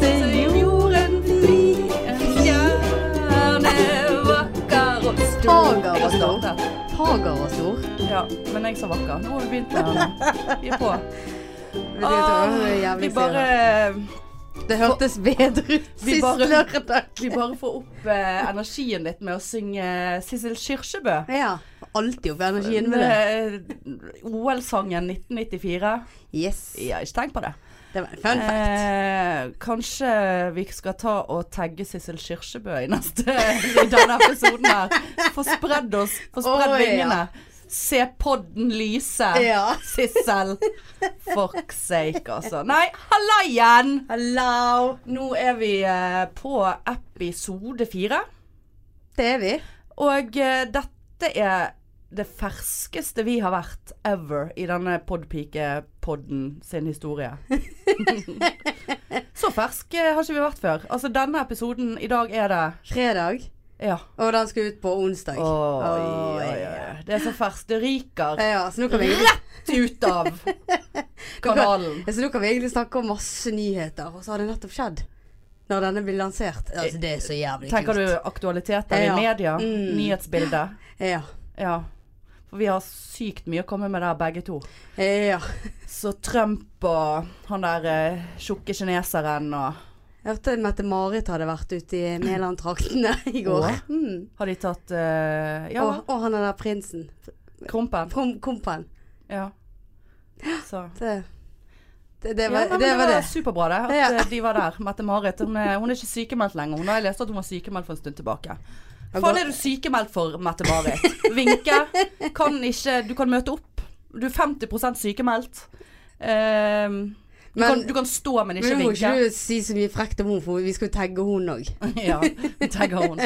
Se jorden fri, en stjerne vakker og Fager og stor. starter. Fager og stor. Ja, men jeg sa vakker. Nå har vi begynt med den. Vi er på. Vet du hva, det er Ah, vi jævlig bare synd. Det hørtes bedre ut Vi sist bare- lørdag. Vi bare får opp eh, energien litt med å synge Sissel Kyrkjebø. Ja. Alltid oppe i energien med det. Eh, OL-sangen 1994. Yes. Jeg har ikke tenkt på det. Det var en fun fact. Eh, kanskje vi skal ta og tagge Sissel Kyrkjebø i neste i denne episoden her. Få spredd oss, få spredd Å, ja. vingene. Se podden lyse, Ja. Sissel. Fuck sake, altså. Nei, hallaien! Hello. Nå er vi eh, på episode fire, Det er vi. og eh, dette er det ferskeste vi har vært ever i denne podpike-podden sin historie. Så fersk eh, har ikke vi vært før. Altså denne episoden i dag er det Fredag. Ja. Og den skal ut på onsdag. Oi, Å, oi, oi. Det er så ferskt. Det ryker Eh, Ja, så nå kan vi egentlig rett ut av kanalen. Ja, Så nå kan vi egentlig snakke om masse nyheter, og så har det nettopp skjedd. Når denne blir lansert. Altså, det er så jævlig Eh, Tenker du kult. aktualiteter i Ja. media? Mm. Nyhetsbildet? Ja. Ja. For vi har sykt mye å komme med der, begge to. Eh, ja. Så Trump og han der eh, tjukke kineseren og Jeg hørte Mette-Marit hadde vært ute i Mæland-traktene i går. Åh. Mm. Har de tatt eh, Ja, Og, og han er der prinsen. Krompen. Prom, kompen. Ja. Så. Det, det, det, Ja, var, nei, men det var det. superbra det, at Ja. eh, de var der. Mette-Marit. Hun, er- hun er ikke sykemeldt lenger. Hun har jeg lest at hun var sykemeldt for en stund tilbake. Ja, Faen godt. er du sykemeldt for, Mette-Marit? Vinke. Kan ikke Du kan møte opp. Du er 50 sykemeldt. Ehm, du, Men- kan, du kan stå, men ikke Men du må vinke. ikke du si så mye frekt om henne, for vi skal jo tagge henne òg. ja, tagger hun.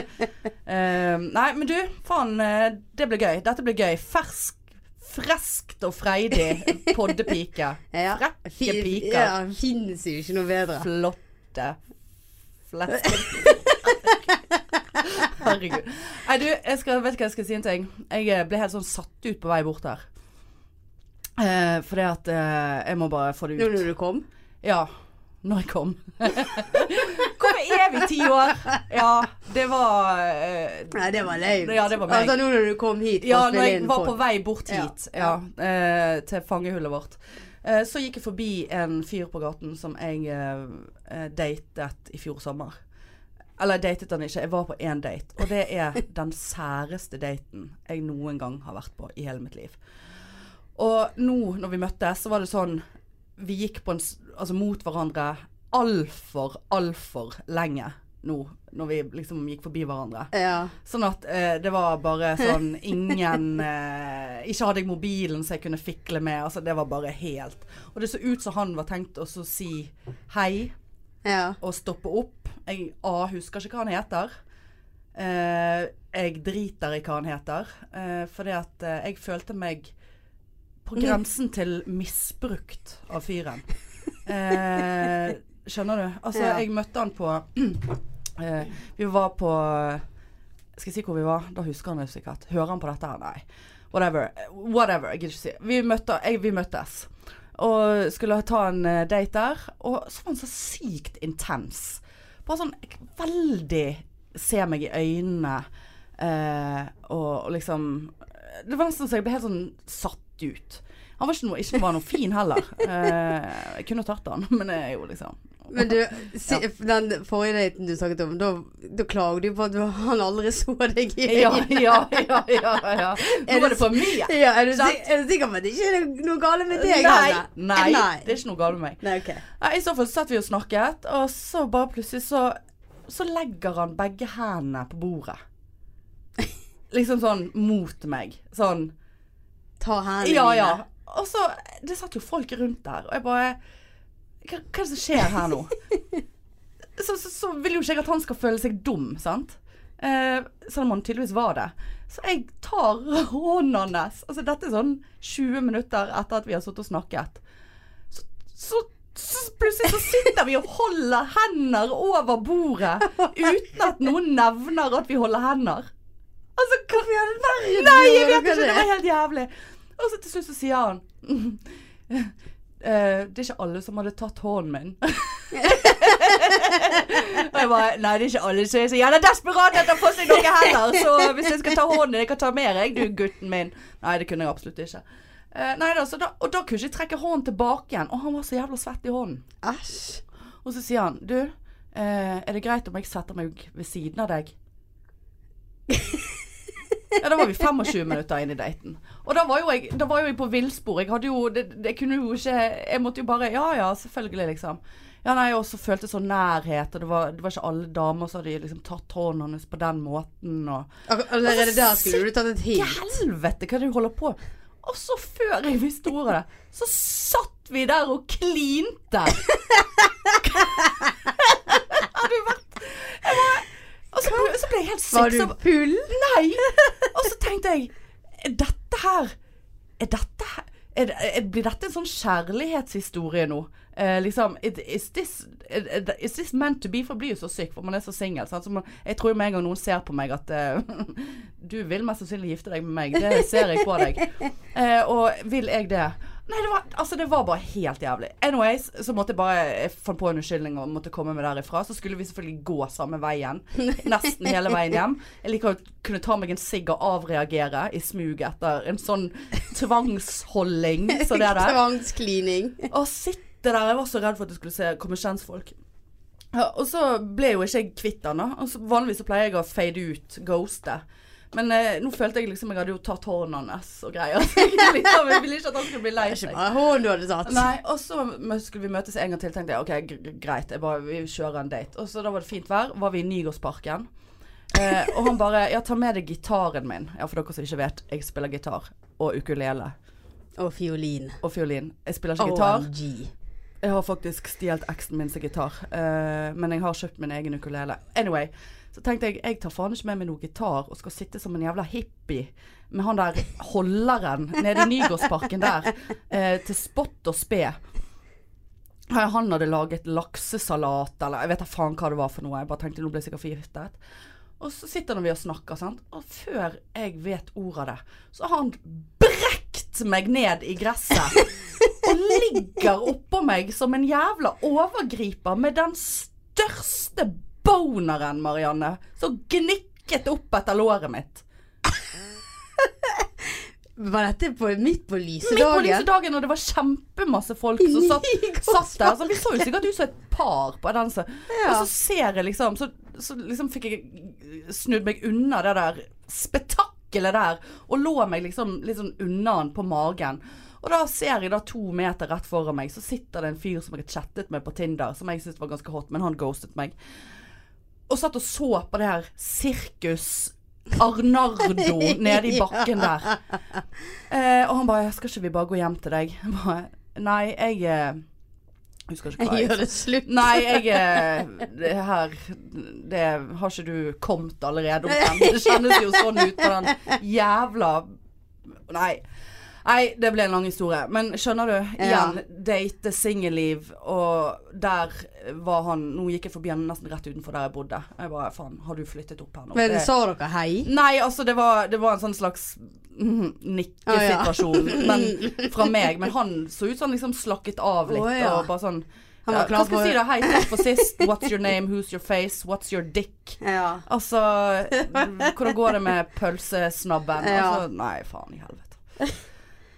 Ehm, nei, men du, faen, eh, det blir gøy. Dette blir gøy. Fersk, freskt og freidig poddepike. Ja. Frekke Fi- piker. Ja, finnes jo ikke noe bedre. flotte flesker. Herregud. Nei, du, jeg skal, vet du hva jeg skal si en ting? Jeg eh, ble helt sånn satt ut på vei bort her. Eh, fordi at eh, jeg må bare få det Nå ut. når du kom. Ja. Når jeg kom. Hvor er vi ti år? Ja, det var eh, Nei, det var løgn. Ja, det var meg. Altså nå når du kom hit. Ja, for å når spille jeg inn var pod. på vei bort hit ja. eh, til fangehullet vårt. Eh, så gikk jeg forbi en fyr på gaten som jeg eh, eh, datet i fjor sommer. Eller jeg datet han ikke, jeg var på én date. Og det er den særeste daten jeg noen gang har vært på i hele mitt liv. Og nå når vi møttes, så var det sånn Vi gikk på en, s- altså mot hverandre altfor, altfor lenge nå. Når vi liksom gikk forbi hverandre. Ja. Sånn at eh, det var bare sånn ingen eh, Ikke hadde jeg mobilen så jeg kunne fikle med. Altså, det var bare helt Og det så ut som han var tenkt å så si hei ja. og stoppe opp. Jeg A, husker ikke hva han heter. Eh, jeg driter i hva han heter. Eh, fordi at eh, jeg følte meg på grensen til misbrukt av fyren. Eh, skjønner du? Altså, Ja. jeg møtte han på eh, Vi var på Skal jeg si hvor vi var? Da husker han det sikkert. Hører han på dette her? Nei. Whatever. Whatever. Jeg gidder ikke si. Vi, møtte, jeg, vi møttes. Og skulle ta en eh, date der. Og så var han så sykt intens. Bare sånn k- veldig Se meg i øynene. eh, og, og liksom Det var nesten så jeg ble helt sånn satt ut. Han var ikke noe, ikke var noe fin heller. Eh, jeg kunne tatt han, men jeg er jo liksom Men du, si, den forrige daten du snakket om, da, da klager du på at du, han aldri så deg i Ja, øynene. ja, ja. ja, ja. Nå var det for mye. Ja, er, du, Sant? si- er du sikker på at det ikke er noe galt med deg? Nei, Hanne? nei, det Nei. er ikke noe galt med meg. Nei, ok. Nei, I så fall satt vi og snakket, og så bare plutselig så, så legger han begge hendene på bordet. Liksom sånn mot meg. Sånn Ta hendene Ja, mine. ja. Og så Det satt jo folk rundt der, og jeg bare Hva, hva er det som skjer her nå? Så, så, så vil jo ikke jeg at han skal føle seg dum, sant? Eh, selv om han tydeligvis var det. Så jeg tar hånden hans Altså, dette er sånn 20 minutter etter at vi har sittet og snakket så, så plutselig så sitter vi og holder hender over bordet uten at noen nevner at vi holder hender. Altså, hva i all verden? Nei, jeg gjorde vet dere ikke. Det det? var helt jævlig. Og så til slutt så sier han eh, det er ikke alle som hadde tatt hånden min. og jeg bare Nei, det er ikke alle som er så jævla desperate etter å få seg noe heller. Så hvis jeg skal ta hånden din, jeg kan ta mer, jeg, du gutten min. Nei, det kunne jeg absolutt ikke. Eh, nei da, så da, og da kunne jeg ikke trekke hånden tilbake igjen. Og han var så jævla svett i hånden. Æsj. Og så sier han Du, eh, er det greit om jeg setter meg ved siden av deg? Ja, Da var vi 25 minutter inn i daten. Og da var jo jeg, da var jo jeg på villspor. Jeg hadde jo det, det kunne jo ikke Jeg måtte jo bare Ja ja, selvfølgelig, liksom. Ja, nei, jeg også følte sånn nærhet, og det var, det var ikke alle damer som hadde liksom tatt hånden hans på den måten, og Ak- Allerede der skulle du tatt et i hint. helvete, hva er det du holder på med? Og så før jeg visste ordet av det, så satt vi der og klinte. Har du vært jeg var- Og så, ble- så ble jeg helt syk. Var du Så, full? nei! Og så tenkte jeg Er dette her Er dette her er, det- er, Blir dette en sånn kjærlighetshistorie nå? Eh, liksom it- is this, eh, is this meant to be? For jeg blir jo så syk, for man er så singel. sant? Så man- Jeg tror jo med en gang noen ser på meg at eh, Du vil mest sannsynlig gifte deg med meg. Det ser jeg på deg. Eh, og vil jeg det? Nei, det var, altså, det var bare helt jævlig. Anyways, så måtte jeg bare Jeg fant på en unnskyldning og måtte komme meg derifra. Så skulle vi selvfølgelig gå samme veien. Nesten hele veien hjem. Jeg liker å kunne ta meg en sigg og avreagere i smuget etter en sånn tvangsholding som det der. Tvangsklining. Å, sitte der. Jeg var så redd for at det skulle se, komme kjentfolk. Ja, og så ble jo ikke jeg kvitt den, da. Og så vanligvis så pleier jeg å fade ut, ghoste. Men eh, nå følte jeg liksom jeg hadde jo tatt hånden hans og greier. Så jeg, liksom, jeg ville ikke at han skulle bli lei seg. Bare hånden du hadde tatt. Nei, og så mø- skulle vi møtes en gang til, tenkte jeg. OK, gr- gr- greit, jeg bare, vi kjører en date. Og så da var det fint vær, var vi i Nygårdsparken. Eh, og han bare Ja, ta med deg gitaren min. Ja, for dere som ikke vet, jeg spiller gitar. Og ukulele. Og fiolin. Og fiolin. Jeg spiller ikke gitar. OMG. Jeg har faktisk stjålet eksen min sin gitar, eh, men jeg har kjøpt min egen ukulele. Anyway, så tenkte jeg jeg tar faen ikke med meg noe gitar og skal sitte som en jævla hippie med han der holderen nede i Nygårdsparken der, eh, til spott og spe. Her, Han hadde laget laksesalat eller jeg vet da faen hva det var for noe. Jeg bare tenkte nå ble jeg sikkert forgiftet. Og så sitter vi og snakker, sant. Og før jeg vet ordet av det, så har han brekt meg ned i gresset og ligger oppå meg som en jævla overgriper med den største boneren, Marianne, som gnikket opp etter låret mitt. Var dette på, midt på lyse Midt på lyse dagen? dagen, og det var kjempemasse folk I som satt, Nygårdsparken. satt der. Så vi så jo sikkert ut som et par på den. så- Ja. Og så ser jeg liksom så, så liksom fikk jeg snudd meg unna det der spetakkelet der, og lå meg liksom litt sånn unna han på magen. Og da ser jeg da to meter rett foran meg, så sitter det en fyr som jeg har chattet med på Tinder, som jeg syntes var ganske hot, men han ghostet meg. og satt og så på det her sirkus Arnardo nede i bakken der. Eh, og han bare 'Skal ikke vi bare gå hjem til deg?' Jeg bare, Nei, jeg eh, Husker ikke hva jeg Gjør det slutt. Nei, jeg eh, det her Det har ikke du kommet allerede omtrent. Det kjennes jo sånn ut på den jævla Nei. Nei, det ble en lang historie. Men skjønner du, igjen, date, singelliv, og der var han Nå gikk jeg forbi han nesten rett utenfor der jeg bodde. Jeg bare faen, har du flyttet opp her nå? Men Det- sa dere hei? Nei, altså det var, det var en sånn slags mm, nikkesituasjon men, fra meg. Men han så ut som han liksom slakket av litt. Å, ja. Og bare sånn Han var ja, klar Hva skal jeg for- si da? Hei, takk for sist. What's your name? Who's your face? What's your dick? Ja. Altså Hvordan går det med pølsesnabben? Ja. Altså, nei, faen i helvete.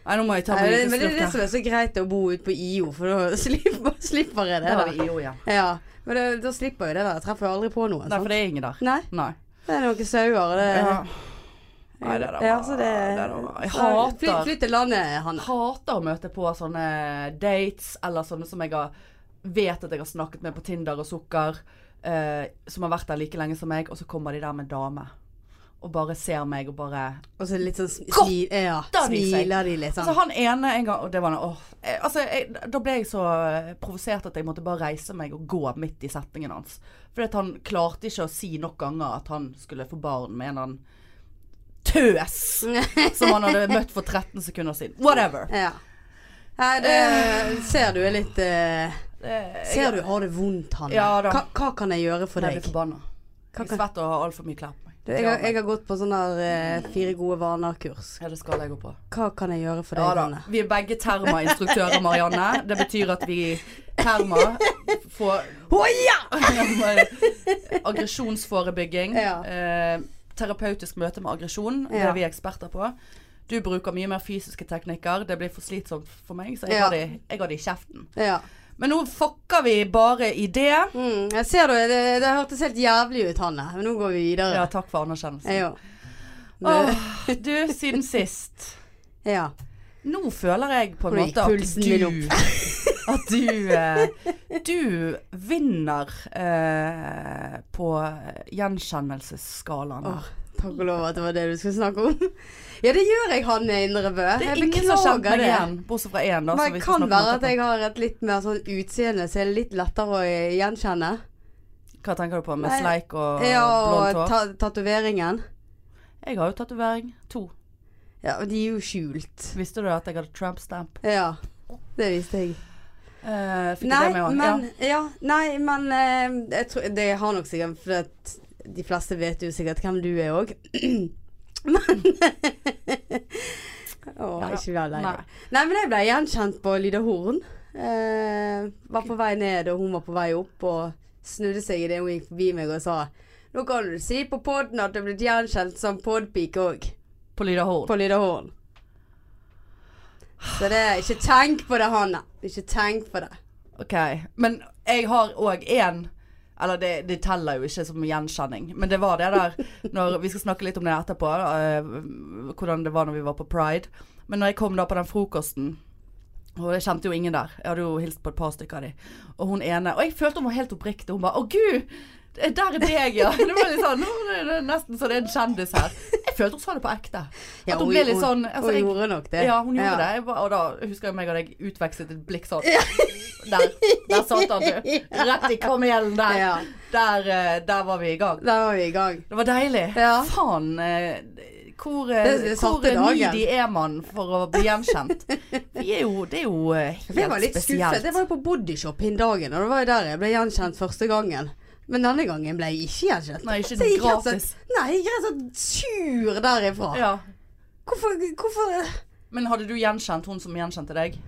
Nei, nå må jeg ta Nei, meg men en men det er liten slurk det som her. er så greit å bo ute på IO, for da slipper, slipper jeg det. Der har vi Da. IO igjen. Ja, men det, da slipper jeg det der. Jeg treffer jo aldri på noen. Nei, for Sant? det er ingen der. Nei, Nei. det er noen sauer. og Det, Ja. Nei, det der var, Eh, Ja, så det, det der var Jeg så hater Flytt, flytt til landet, Hanne. hater å møte på sånne dates, eller sånne som jeg har, vet at jeg har snakket med på Tinder og Sukker, eh, som har vært der like lenge som meg, og så kommer de der med dame. Og bare ser meg og bare Og så litt sånn smi, smi- ja, Godter de seg. smiler de litt Altså han sånn. ene en gang Og det var noe åh, jeg, altså, jeg, Da ble jeg så eh, provosert at jeg måtte bare reise meg og gå midt i setningen hans. Fordi at han klarte ikke å si nok ganger at han skulle få barn med en eller annen tøs som han hadde møtt for 13 sekunder siden. Whatever. sånn. Ja. Nei, det ser du er litt eh, Det- Ser du har det vondt, Hanne. Ja da. hva, hva kan jeg gjøre for Jeg blir deg? forbanna. Jeg er svett og har altfor mye klær på meg. Du, jeg, har, jeg har gått på sånn der eh, fire gode vaner-kurs. Ja, det skal jeg gå på. Hva kan jeg gjøre for deg, Ja da. Hanne? Vi er begge termainstruktører, Marianne. Det betyr at vi terma får Hoia! aggresjonsforebygging. Ja. Eh, terapeutisk møte med aggresjon. Det Ja. er vi eksperter på. Du bruker mye mer fysiske teknikker. Det blir for slitsomt for meg, så jeg Ja. har det- jeg har det i kjeften. Ja. Men nå fucker vi bare i det. Mm, jeg ser du, det, det hørtes helt jævlig ut, Hanne. Men nå går vi Ja, videre. takk for anerkjennelsen. Ja. Åh, du, siden sist. ja. Nå føler jeg på en Nå gikk måte at pulsen du min At du eh, Du vinner eh, på gjenkjennelsesskalaen. her. Åh, takk og lov at det var det du skulle snakke om. Ja, det gjør jeg, Hanne Indrebø. det er Jeg ingen som beklager kjenner meg det. igjen, bortsett fra én. da, som Men altså, vi det skal kan snakke om være at etterpå. jeg har et litt mer sånn utseende som er litt lettere å eh, gjenkjenne. Hva tenker du på? Med Nei, sleik og Ja, blondt hår? og ta tatoveringen. Jeg har jo tatovering. To. Ja, og de er jo skjult. Visste du at jeg hadde tramp stamp? Ja, det visste jeg. Eh, fikk Nei, jeg det med meg? men, ja, nei, men eh, jeg tror, Det har nok sikkert For at de fleste vet jo sikkert hvem du er òg. men Å, Ja da. ikke vær lei Nei. deg. Nei, men jeg ble gjenkjent på Lida Horn. Eh, var på vei ned, og hun var på vei opp, og snudde seg idet hun gikk forbi meg og sa Nå kan du si på podden at du er blitt gjenkjent som podpike òg, På Lyda Horn. på Lida Horn. Så det er Ikke tenk på det, Hanne. Ikke tenk på det. Ok, men jeg har òg en Eller det, det teller jo ikke som gjenkjenning, men det var det der når, Vi skal snakke litt om det etterpå, eh, hvordan det var når vi var på Pride. Men når jeg kom da på den frokosten og jeg kjente jo ingen der. Jeg hadde jo hilst på et par stykker av de. Og hun ene Og jeg følte hun var helt oppriktig. Hun bare 'Å, gud! eh, Der er deg, ja!' Det var litt sånn, nå er det nesten så det er en kjendis her. Jeg følte hun sa det på ekte. At hun ble litt sånn altså, hun jeg, gjorde nok det. ja, hun gjorde Ja. det. Jeg ba- og da husker jeg meg og deg utvekslet et blikk sånn. Der, der satt han, du. Rett i kamelen der. Ja. Der, eh, der var vi i gang. Da var vi i gang. Det var deilig. Ja. Faen. eh, Hvor, eh, Det- det hvor satte dagen. needy er man for å bli gjenkjent? Vi er jo, det er jo eh, helt Jeg var litt skuffet. spesielt. Jeg var jo på Bodyshop hin dagen, og det var jo der jeg ble gjenkjent første gangen. Men denne gangen ble jeg ikke gjenkjent. Nei, ikke Så jeg gikk sånn. rett og slett- gratis. Nei, jeg gikk rett og slett sur derifra. Ja. Hvorfor, hvorfor Men hadde du gjenkjent hun som gjenkjente deg?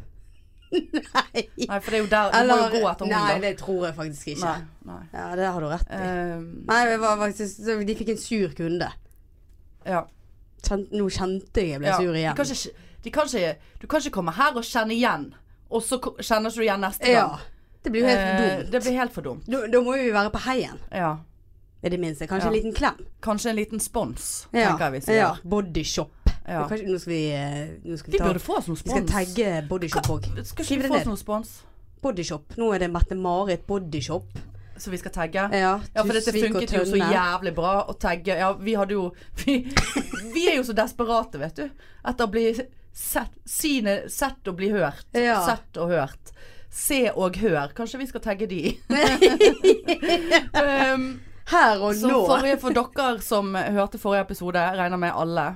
Nei. Nei, for det er jo der du må jo gå etter Nei, hun, da. det tror jeg faktisk ikke. Nei, nei. Ja, det har du rett i. Eh, Nei, det var faktisk, så de fikk en sur kunde. ja. Kjent, nå kjente jeg jeg ble Ja, sur De igjen. kan ikke, de kan ikke, du kan ikke komme her og kjenne igjen, og så ko- kjenner ikke du igjen neste Ja. gang. Det blir jo helt Eh, dumt. det blir helt for dumt. Da, da må vi være på heien, Ja. i det minste. Kanskje Ja. en liten klem. Kanskje en liten spons, Ja. tenker jeg vi sier. ja. Bodyshop. Ja. Men Kanskje, nå skal vi, eh, nå skal De vi ta burde få oss noe Vi skal spons. tagge Bodyshop òg. Skal Skriv ikke vi det få oss ned. noe spons? Bodyshop. Nå er det Mette-Marit Bodyshop. Så vi skal tagge? Ja, Ja, for dette Tusvik og funket jo så Tønne. jævlig bra å tagge. Ja, vi hadde jo Vi, vi er jo så desperate, vet du. Etter å bli sett, sine, sett og bli hørt. Ja. Sett og hørt. Se og hør. Kanskje vi skal tagge de. um, Her og Så nå. forrige for dere som hørte forrige episode, jeg regner med alle,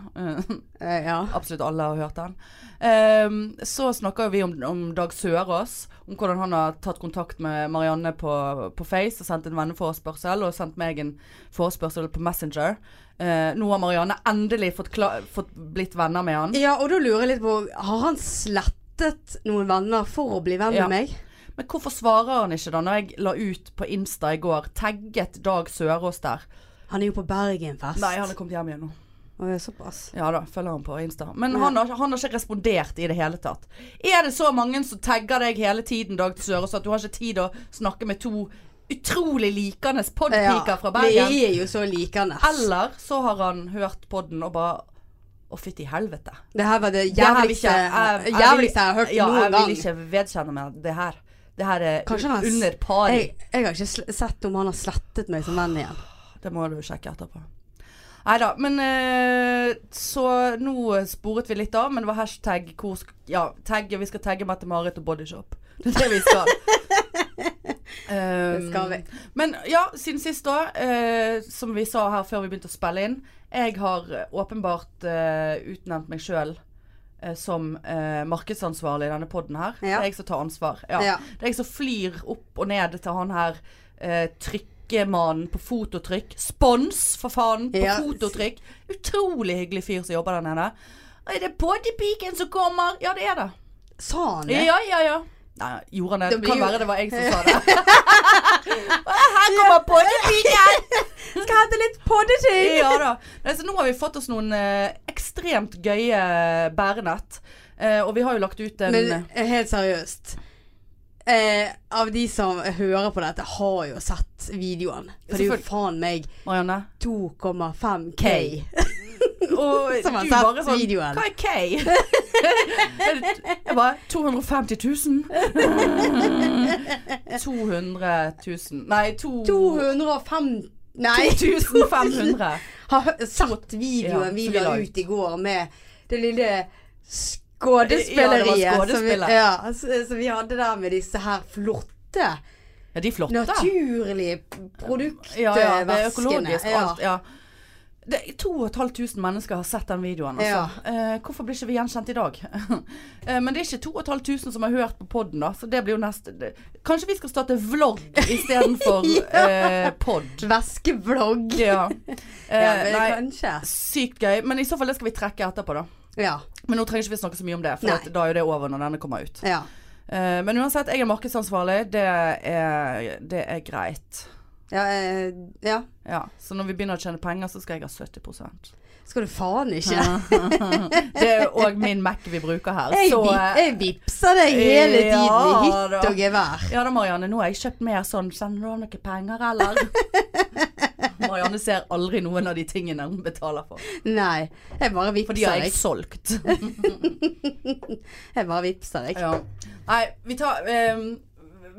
Eh, ja. absolutt alle har hørt den, Ehm, så snakker jo vi om, om Dag Sørås, om hvordan han har tatt kontakt med Marianne på, på Face og sendt en venneforespørsel, og sendt meg en forespørsel på Messenger. Eh, nå har Marianne endelig fått, kla- fått blitt venner med han. ja, og da lurer jeg litt på Har han slettet noen venner for å bli venn Ja. med meg? Men hvorfor svarer han ikke da, når jeg la ut på Insta i går, tagget Dag Sørås der? Han er jo på Bergenfest. Nei, han er kommet hjem igjen nå. Å, ja, såpass. Ja da, følger han på Insta. Men han, har, han har ikke respondert i det hele tatt. Er det så mange som tagger deg hele tiden, Dag Sørås, at du har ikke tid å snakke med to utrolig likende podpiker fra Bergen? Vi er jo så likende. Eller så har han hørt podden og bare Å, fytti helvete. Det her var det Det her vil jævligste ikke- jeg- jeg vil- jævligste jeg har hørt ja, noen gang. Jeg vil ikke vedkjenne meg det her. Det her er Kanskje han har s- under pari. Jeg, jeg har ikke sl- sett om han har slettet meg som venn igjen. Det må du sjekke etterpå. Nei da, men eh, Så nå sporet vi litt av, men det var hashtag hvor sk- Ja, tagge, vi skal tagge Mette-Marit og Bodyshop. Det er det vi skal. Ehm, Det skal vi. Men ja, siden sist da, eh, som vi sa her før vi begynte å spille inn, jeg har eh, åpenbart eh, utnevnt meg sjøl som eh, markedsansvarlig i denne poden her. Ja. Det er jeg som tar ansvar. Ja. Ja. Det er jeg som flyr opp og ned til han her eh, trykk Skinkemannen på fototrykk. Spons, for faen, på Ja. fototrykk. Utrolig hyggelig fyr som jobber der nede. Er det bodypiken som kommer? Ja, det er det. Sa han det? Ja, ja, ja. Nei, gjorde han det? Det Det blir kan jo- være det var jeg som sa det. Her kommer bodypiken! Skal hente litt poddeting! Ja da. Nei, så nå har vi fått oss noen eh, ekstremt gøye bærenett. Eh, og vi har jo lagt ut en Men eh, helt seriøst. Eh, av de som hører på dette, har jo sett videoen. For det er jo Selvfølgelig. faen meg Marianne. 2,5 K. K. Og Som har du sett bare sånn videoen. Hva er K? jeg bare 250 000. 200 000 Nei, to, 205 Nei! 2500. Har hø- sett videoen Ja, vi som vi la la ut i går med det lille skådespilleriet Ja, det var som, vi, skådespillet. ja, s- som vi hadde der med disse her flotte, Ja, de er flotte. naturlige produktvaskene. Ja, ja, det er økologisk og alt. Ja. Det, 2500 mennesker har sett den videoen, altså. Eh, hvorfor blir ikke vi gjenkjent i dag? eh, men det er ikke 2500 som har hørt på podden, da. Så det blir jo neste det, Kanskje vi skal starte vlogg istedenfor eh, pod. Væskevlogg. Ja. Ja, Eh, men nei, kanskje. sykt gøy. Men i så fall det skal vi trekke etterpå, da. Ja. Men nå trenger ikke vi snakke så mye om det, for Nei. at da er jo det over når denne kommer ut. ja. Eh, men uansett, jeg er markedsansvarlig. Det er, det er greit. Ja, eh, ja. Ja. Så når vi begynner å tjene penger, så skal jeg ha 70 Skal du faen ikke? Det er òg min Mac vi bruker her. Jeg, Så eh, vip, jeg vipser deg hele Ja, tiden i hytt da. og gevær. eh, ja da, Marianne. Nå har jeg kjøpt mer sånn. Sender du ham noen penger, eller? Marianne ser aldri noen av de tingene hun betaler for. Nei, jeg For bare de vipser har jeg deg. solgt. Jeg bare vipser deg. Ja. Nei, vi tar ehm,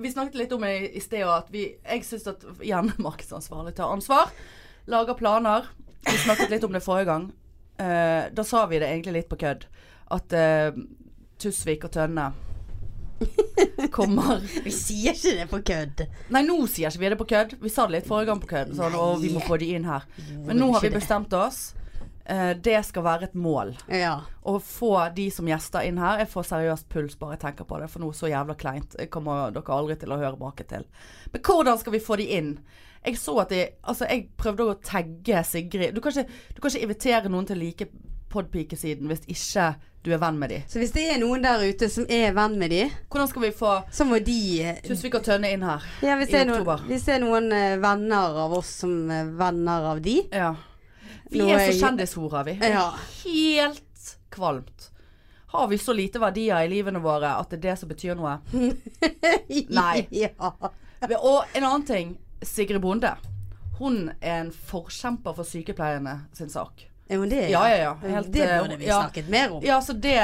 Vi snakket litt om det i sted og at vi Jeg syns at igjen markedsansvarlig tar ansvar. Lager planer. Vi snakket litt om det forrige gang. Eh, da sa vi det egentlig litt på kødd. At eh, Tusvik og Tønne kommer Vi sier ikke det på kødd. Nei, nå sier ikke vi det på kødd. Vi sa det litt forrige gang på kødd. Sånn, å, vi må få de inn her. Men nå har vi bestemt oss. Eh, det skal være et mål. Ja. Å få de som gjester inn her. Jeg får seriøst puls bare jeg tenker på det, for noe så jævla kleint Jeg kommer dere aldri til å høre maken til. Men hvordan skal vi få de inn? Jeg så at de Altså, jeg prøvde å tagge Sigrid. Du kan ikke, du kan ikke invitere noen til å like podpikesiden hvis ikke du er venn med de. Så hvis det er noen der ute som er venn med de, Hvordan skal vi få så må de eh, Tusvik og Tønne inn her? ja, hvis, i det er noen, oktober. hvis det er noen eh, venner av oss som er venner av de Ja. Vi Nå er er så jeg- kjendishorer, vi. Ja. helt kvalmt. Har vi så lite verdier i livene våre at det er det som betyr noe? Nei. ja. Og en annen ting. Sigrid Bonde. Hun er en forkjemper for sykepleierne sin sak. Er hun det? Ja, ja, ja. Helt, det eh, burde vi ja. snakket mer om. Ja, så det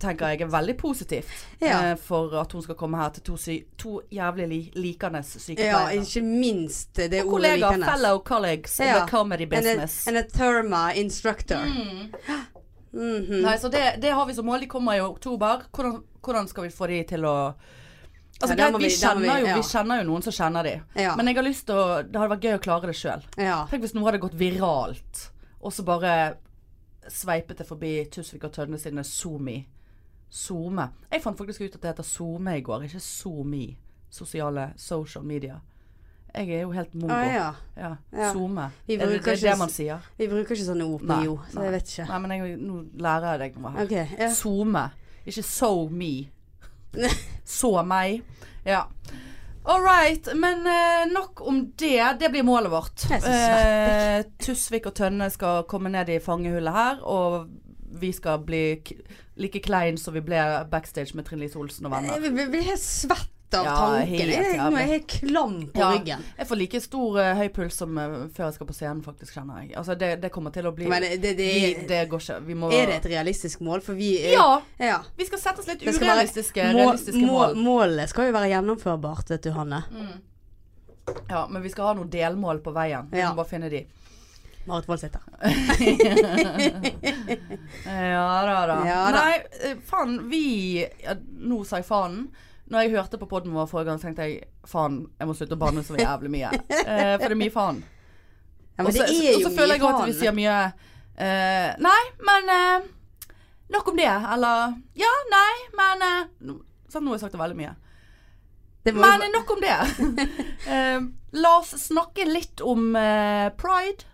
tenker jeg er veldig positivt. Ja. Eh, for at hun skal komme her til to, sy to jævlig li likende Ja, sykepleiere. ikke minst eh, det ordet Kollegaer, likandes. fellow colleagues in Ja. the comedy And a- business. Mm. And a therma instructor. Mhm. Nei, så det, det har vi som mål. De kommer i oktober. Hvordan, hvordan skal vi få de til å Altså, Ja, der må greit, vi, vi- der må kjenner vi- jo, ja. vi kjenner jo noen som kjenner de. Ja. Men jeg har lyst til å Det hadde vært gøy å klare det sjøl. Ja. Tenk hvis noe hadde gått viralt, og så bare sveipet det forbi Tusvik og Tønne sine Zoomi. Zoome. Jeg fant faktisk ut at det heter Zoome i går, ikke Zoomi. Sosiale social media. Jeg er jo helt mongo. Å Ah, ja. Ja. Ja. Zoome. Vi Er det, bruker det er ikke det s- man sier. Vi bruker ikke sånne ord på Nei, jo, så jeg vet ikke. Nei, men jeg, nå lærer jeg deg noe her. Ok, ja. Zoome. Ikke so me. Så meg. Ja. All right. Men eh, nok om det. Det blir målet vårt. Jeg synes Eh, Tusvik og Tønne skal komme ned i fangehullet her, og vi skal bli k like klein som vi ble backstage med Trine Lise Olsen og venner. Jeg blir- blir helt svett av Ja, tanken. helt Jeg, jeg, nå er jeg jævlig. helt klam på Ja, ryggen. jeg får like stor eh, høy puls som eh, før jeg skal på scenen, faktisk, kjenner jeg. Altså, det, det kommer til å bli Men det, det, vi, det Det går ikke. Vi må er, er det et realistisk mål? For vi er Ja! ja. Vi skal sette oss litt Det skal være- urealistiske, Må- realistiske må- mål. Mm. Målet skal jo være gjennomførbart, vet du, Hanne. Ja, men vi skal ha noen delmål på veien. Vi Ja. må bare finne de. Marit Wold sitter. Ja da, da. Ja da. Nei, eh, faen, vi ja, Nå sa jeg faen. Når jeg hørte på podden vår forrige gang, så tenkte jeg faen, jeg må slutte å banne så jævlig mye. Eh, for det er mye faen. Ja, men Og så det er jo og så føler jeg mye også at vi faen. sier mye eh, Nei, men eh, Nok om det. Eller Ja, nei, men eh, nå- Sånn, nå har jeg sagt det veldig mye. Det må jo Men nok om det. Eh, la oss snakke litt om eh, pride.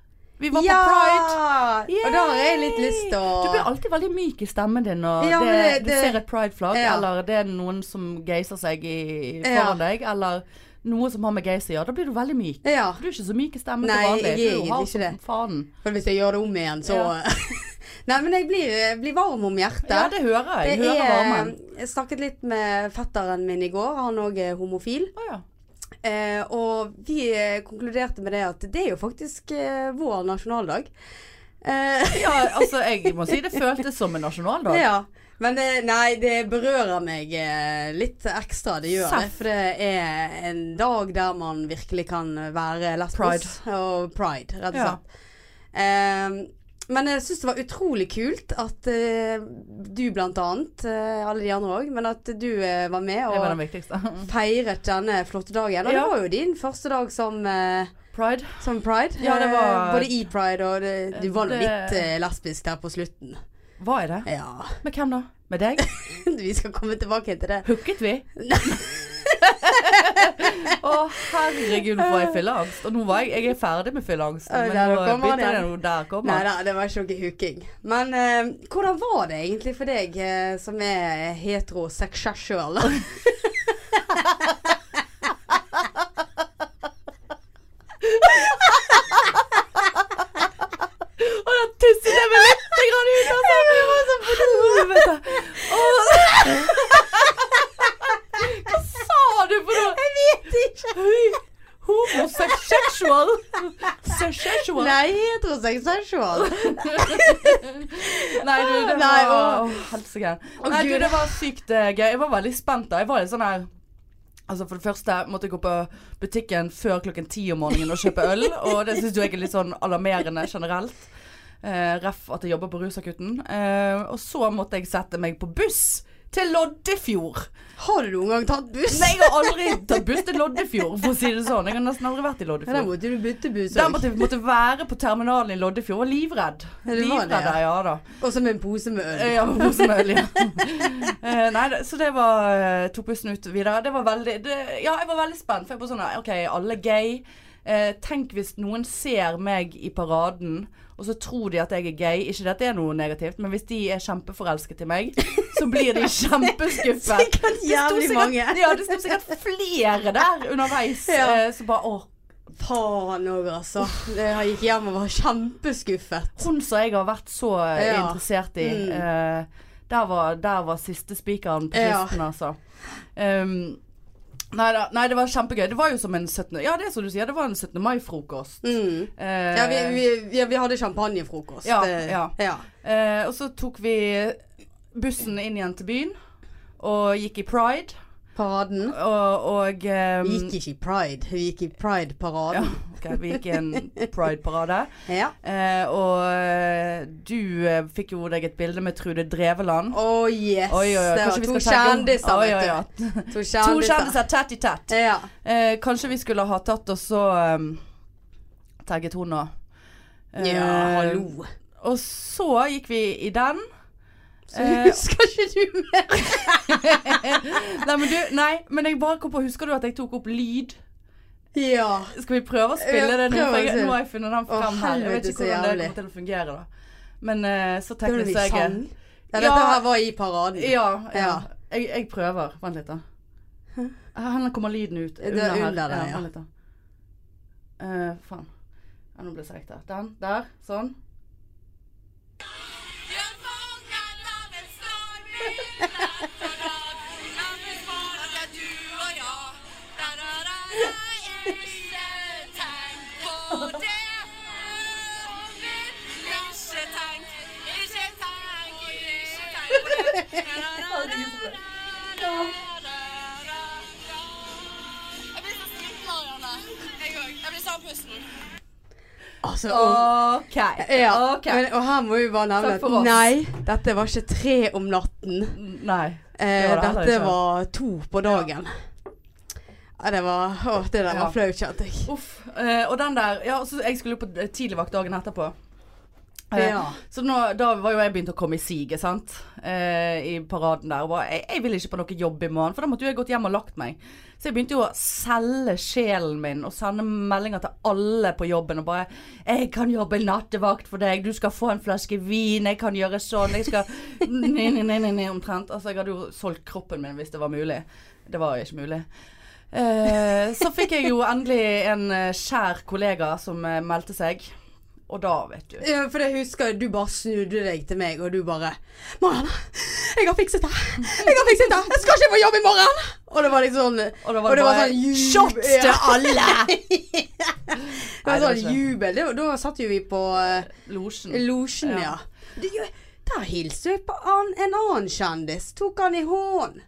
Vi var ja! på pride. Og da har jeg litt lyst til Du blir å alltid veldig myk i stemmen din når Ja, det, men det- du det- ser et prideflagg, Ja. eller det er noen som geiser seg i, Ja. foran deg, eller noe som har med geis å gjøre. Da blir du veldig myk. Ja. Du er ikke så myk i stemmen Nei, til vanlig. jeg Du er jo hard egentlig ikke som Faen. For hvis jeg gjør det om igjen, så Ja. Nei, men jeg blir, jeg blir varm om hjertet. Ja, det hører jeg. Jeg Det hører er, varmen. jeg snakket litt med fetteren min i går, han òg er homofil. Å ja. Eh, og vi eh, konkluderte med det at det er jo faktisk eh, vår nasjonaldag. Eh, ja, altså jeg må si det føltes som en nasjonaldag. ja. Men det, nei, det berører meg eh, litt ekstra, det gjør det. Seff. For det er en dag der man virkelig kan være lesbos. Og pride, rett og Ja. slett. Eh, men jeg syns det var utrolig kult at eh, du blant annet, eh, alle de andre òg, men at du eh, var med Det var og den viktigste. feiret denne flotte dagen. Og Ja. det var jo din første dag som, eh, Pride. som pride. Ja, det var- Eh, Både i pride og det, Du var nå Det- litt eh, lesbisk der på slutten. Hva er det? Ja. Med hvem da? Med deg? Vi skal komme tilbake til det. Hooket vi? Å herregud, nå får jeg fylleangst. Og nå var jeg, jeg er ferdig med fylleangst. Å, Men der nå kommer han begynte jeg igjen. nå- der kommer Nei han. da, det var ikke noe hooking. Men eh, hvordan var det egentlig for deg eh, som er heteroseksuell? Å, da tisset jeg meg litt grann ut, altså. Det var sånn for helvete. Å. Hva sa du for noe? Jeg vet ikke. Homoseksual. Seksual. Nei, heteroseksual. Nei, du, det Nei, var å. Å, helsike. Å, Nei, du, Gud. det var sykt eh, gøy. Jeg var veldig spent da. Jeg var litt sånn her Altså For det første måtte jeg gå på butikken før klokken ti om morgenen og kjøpe øl. Og det syns jeg er litt sånn alarmerende generelt. Eh, ref at jeg jobber på Rusakutten. Eh, og så måtte jeg sette meg på buss til Loddefjord. Har du noen gang tatt buss? Nei, jeg har aldri tatt buss til Loddefjord, for å si det sånn. Jeg har nesten aldri vært i Ja, Der Loddefjord. måtte du bytte buss Der òg. måtte jeg måtte være på terminalen i Loddefjord. Jeg var livredd. Ja, du var det, Livredd, ja. ja da. Og så med en pose med øl. Eh, Ja, på posen med øl, ja. Eh, Nei, det- så det var eh, Tok pusten ut videre. Det var veldig det, Ja, jeg var veldig spent. For jeg var sånn nei, OK, alle gay. Eh, tenk hvis noen ser meg i paraden, og så tror de at jeg er gay. Ikke det at det er noe negativt, men hvis de er kjempeforelsket i meg, så blir de kjempeskuffet. Det Sikkert sto jævlig sikkert, mange. ja, det sto sikkert flere der underveis Ja. eh, som bare Å, Faen òg, altså. Jeg gikk hjem og var kjempeskuffet. hun som jeg har vært så eh, Ja. interessert i. Mm. eh, der, var, der var siste spikeren på Ja. kisten, altså. Um, nei da. Nei, det var kjempegøy. Det var jo som en 17. Ja, det er som du sier. Det var en 17. mai-frokost. Mm. Eh, Ja, vi, vi, ja, vi hadde champagnefrokost. Ja, Eh, ja. eh, og så tok vi bussen inn igjen til byen. Og gikk i pride. Paraden. Og, og eh, Vi gikk ikke i pride, vi gikk i ja, pride-paraden. ok, vi gikk i en pride-parade. Ja. Eh, og eh, du eh, fikk jo deg et bilde med Trude Dreveland. Oh yes, Oi, oi, oi. det var Kanskje vi to skal tenke om- kjendiser, Oi, oi, vet oi. du. To To kjendiser. kjendiser tett i tett. Ja. Eh, kanskje vi skulle ha tatt og så um, tagget hun nå. Eh, ja, hallo. Og så gikk vi i den. Så eh, husker ikke du mer? Nei, men du, nei, men jeg bare kom på Husker du at jeg tok opp lyd? Ja. Skal vi prøve å spille Ja, det nå? prøv For å jeg, se. nå har jeg funnet den Å, frem her. Jeg vet helvete, ikke så hvordan det jævlig. kommer til å fungere, da. Men eh, så Det var teknisk vi så er jeg sang. Ja, dette Ja. her var i paraden. Ja. ja. Ja. Jeg, jeg prøver. Vent litt, da. Her kommer lyden ut. er under der, ja. Vent litt, da. Eh, faen. Ja, nå ble jeg seig der. Den. Der. Sånn. Altså, og- OK. Ja, Ok. men, og her må vi bare nevne Takk for oss. at nei, dette var ikke tre om natten. Nei. Eh, Det var det heller dette ikke. var to på dagen. Ja, det var Å, det der Ja. var flaut, kjente jeg. Uff. Eh, og den der Ja, så jeg skulle jo på eh, tidligvakt dagen etterpå. Eh, Ja. Så nå, da var jo jeg begynt å komme i siget, sant. Eh, I paraden der. Og bare, jeg, jeg vil ikke på noe jobb i morgen, for da måtte jo jeg gått hjem og lagt meg. Så jeg begynte jo å selge sjelen min og sende meldinger til alle på jobben og bare 'Jeg kan jobbe nattevakt for deg, du skal få en flaske vin, jeg kan gjøre sånn, jeg skal Nei, nei, nei, nei, nei omtrent. Altså, jeg hadde jo solgt kroppen min hvis det var mulig. Det var jo ikke mulig. Eh, så fikk jeg jo endelig en eh, kjær kollega som eh, meldte seg. Og da, vet du Ja, for jeg husker du bare snudde deg til meg, og du bare 'Marianne, jeg har fikset det! Jeg har fikset det! Jeg skal ikke på jobb i morgen!' Og det var liksom sånn Og da Og det var bare sånn jubel. Shots til alle! Det var sånn jubel. Det, var- da satt jo vi på uh, Losjen. losjen, ja. Ja. Det gjør- der hilste vi på an, en annen kjendis. Tok han i hånden.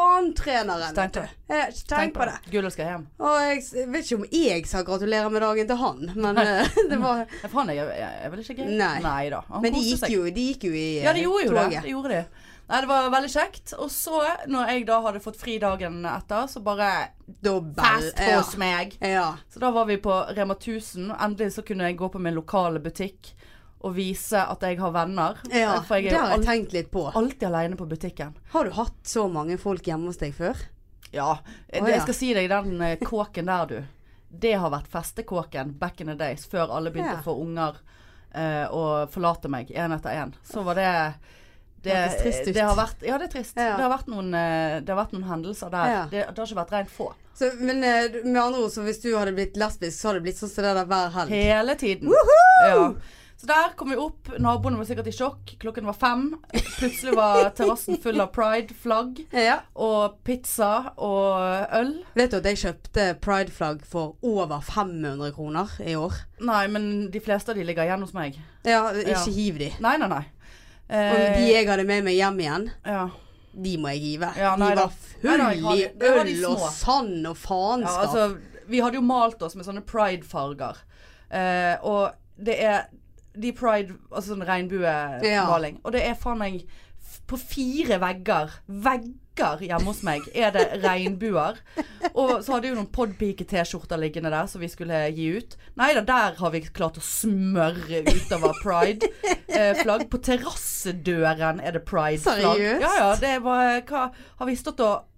Branntreneren. Tenk vet på du. det. Eh, Tenk på det. Gullet skal hjem. Og jeg s- vet ikke om jeg sa gratulerer med dagen til han, men eh, det var Ja, for han er, er, er vel ikke gøy? Nei. da. Han Men de koste gikk seg. jo, de gikk jo i eh, Ja, de gjorde jo det. toget. De gjorde det. Nei, det var veldig kjekt. Og så, når jeg da hadde fått fri dagen etter, så bare Dobbel. Fast ja. hos meg. ja. Så da var vi på Rema 1000. Endelig så kunne jeg gå på min lokale butikk og vise at jeg har venner. Ja, For jeg det er har jo jeg al- tenkt litt på. alltid aleine på butikken. Har du hatt så mange folk hjemme hos deg før? Ja. eh, Å, ja. Jeg skal si deg den eh, kåken der, du. Det har vært festekåken back in the days, før alle begynte Ja. å få unger eh, og forlate meg én etter én. Så var det det, Det hørtes trist ut. det har vært Ja, det er trist. Ja. Det, har vært noen, eh, det har vært noen hendelser der. Ja. Det, det har ikke vært rent få. Så, men eh, med andre ord, så hvis du hadde blitt lesbisk, så hadde det blitt sånn som det der hver helg. Hele tiden. Ja. Så der kom vi opp. Naboene var sikkert i sjokk. Klokken var fem. Plutselig var terrassen full av pride-flagg Ja. og pizza og øl. Vet du at jeg kjøpte prideflagg for over 500 kroner i år? Nei, men de fleste av de ligger igjen hos meg. Ja, ikke Ja. hiv de. Nei, nei, nei. Og Eh, de jeg hadde med meg hjem igjen, ja. de må jeg hive. Ja, nei de da. var Nei da, jeg har full i de- det var de øl og små. sand og ja, faenskap. altså Vi hadde jo malt oss med sånne pride-farger. Eh, og det er de pride Altså sånn regnbuemaling. Og det er faen meg f- på fire vegger. Vegger hjemme hos meg er det regnbuer. Og så hadde jeg jo noen podpike-T-skjorter liggende der som vi skulle gi ut. Nei da, der har vi klart å smøre utover pride-flagg. På terrassedøren er det pride-flagg. Seriøst? Ja ja, det var Hva Har vi stått og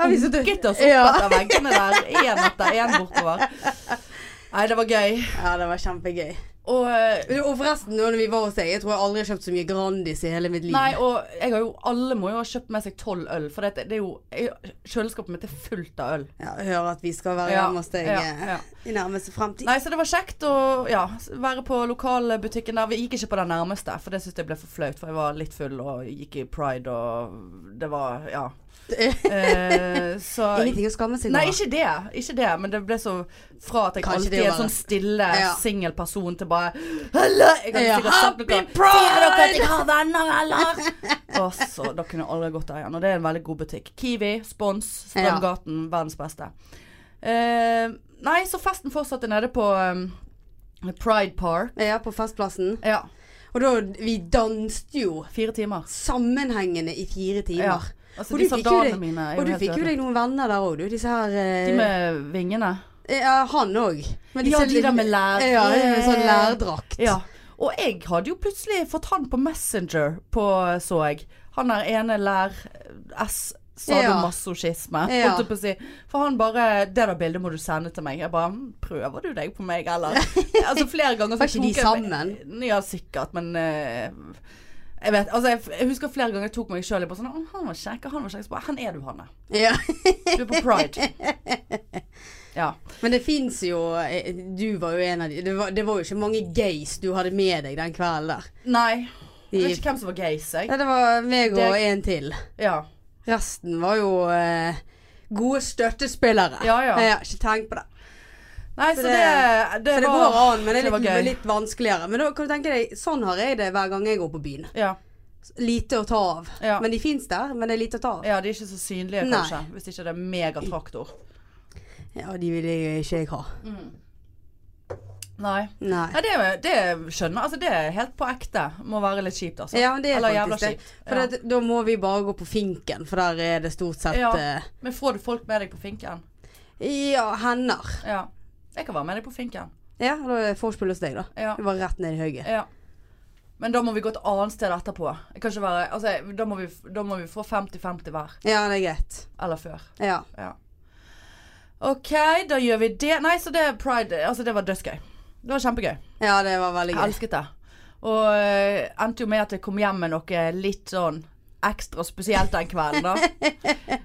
Har vi så dø- Rukket oss opp ja. etter veggene der, én etter én bortover. Nei, det var gøy. ja, det var kjempegøy. Og, eh, Og forresten, når vi var hos deg, jeg tror jeg aldri har kjøpt så mye Grandis i hele mitt liv. nei, og jeg har jo, alle må jo ha kjøpt med seg tolv øl, for det, det er jo jeg, Kjøleskapet mitt er fullt av øl. Ja, Hører at vi skal være Ja, hjemme hos deg ja, eh, ja. i nærmeste fremtid. Nei, så det var kjekt å ja, være på lokalbutikken der. Vi gikk ikke på den nærmeste, for det syntes jeg ble for flaut, for jeg var litt full og gikk i pride og Det var Ja. Eh, så Ingenting å skamme seg Nei, over. ikke det. Ikke det, men det ble så fra at jeg Kanskje alltid det å er en være- sånn stille, Ja. singel person til bare Hallo! Jeg kan Ja. sikkert sagt noe. Happy Pride! Sier dere at jeg har venner, eller? Og så, Da kunne jeg aldri gått der igjen. Og det er en veldig god butikk. Kiwi, Spons, Strømgaten. Verdens beste. Eh, nei, så festen fortsatte nede på eh, Pride Park. Ja, på Festplassen. Ja. Og da Vi danset jo Fire timer. sammenhengende i fire Ja. timer. Altså, Og de du fikk jo sandalene deg- mine er Og du helt fikk jo øde. deg noen venner der òg, du. Disse her eh, De med vingene. Ja, han òg. Ja, de der med lær. Ja, de med sånn lærdrakt. Ja. Og jeg hadde jo plutselig fått han på Messenger, på, så jeg. Han der ene lær S sadomasochisme, Ja. holdt jeg på å si. For han bare 'Det der bildet må du sende til meg.' Jeg bare "Hm, 'Prøver du deg på meg, eller?' altså flere ganger Var ikke de tok jeg meg- Ja, sikkert, men eh, jeg vet, altså jeg, jeg husker flere ganger jeg tok meg sjøl i bare sånn 'Å, han var kjekk, og han var kjekk.' Så bare 'Hen er du, Hanne? Ja. Du er på pride.' Ja. Men det fins jo eh, Du var jo en av de det var, det var jo ikke mange gays du hadde med deg den kvelden der. Nei. Jeg vet De, ikke hvem som var gays, jeg. ja, det var meg og Det- en til. Ja. Resten var jo eh, gode støttespillere. Ja, ja. Ikke tenk på det. Nei, så Så det, det- det, Så det var, går an, men det det er var litt, gøy. litt vanskeligere. Men da kan du tenke deg, sånn har jeg det hver gang jeg går på byen. Ja, Lite å ta av. ja. Men de fins der, men det er lite å ta av. ja, de er ikke så synlige, Nei. kanskje. Hvis ikke det er megatraktor. Ja, de vil jeg ikke jeg ha. Nei. Nei. Nei, det, er- det skjønner Altså, det er helt på ekte. Må være litt kjipt, altså. Ja, men det er Eller jævla faktisk det. kjipt. For Ja. det, da må vi bare gå på finken, for der er det stort sett Ja. eh, Men får du folk med deg på finken? ja hender. Ja. Jeg kan være med deg på finken. Ja, da er vorspiel hos deg, da. Ja. Det var rett ned i høyet. ja. Men da må vi gå et annet sted etterpå. Jeg kan ikke være, altså, da, må vi, da må vi få 50-50 hver. Ja, det er greit. Eller før. Ja. Ja. OK, da gjør vi det. Nei, så det er pride Altså, det var dødsgøy. Det var kjempegøy. ja, det var veldig Jeg gøy. elsket det. Og eh, endte jo med at jeg kom hjem med noe litt sånn ekstra spesielt den kvelden, da.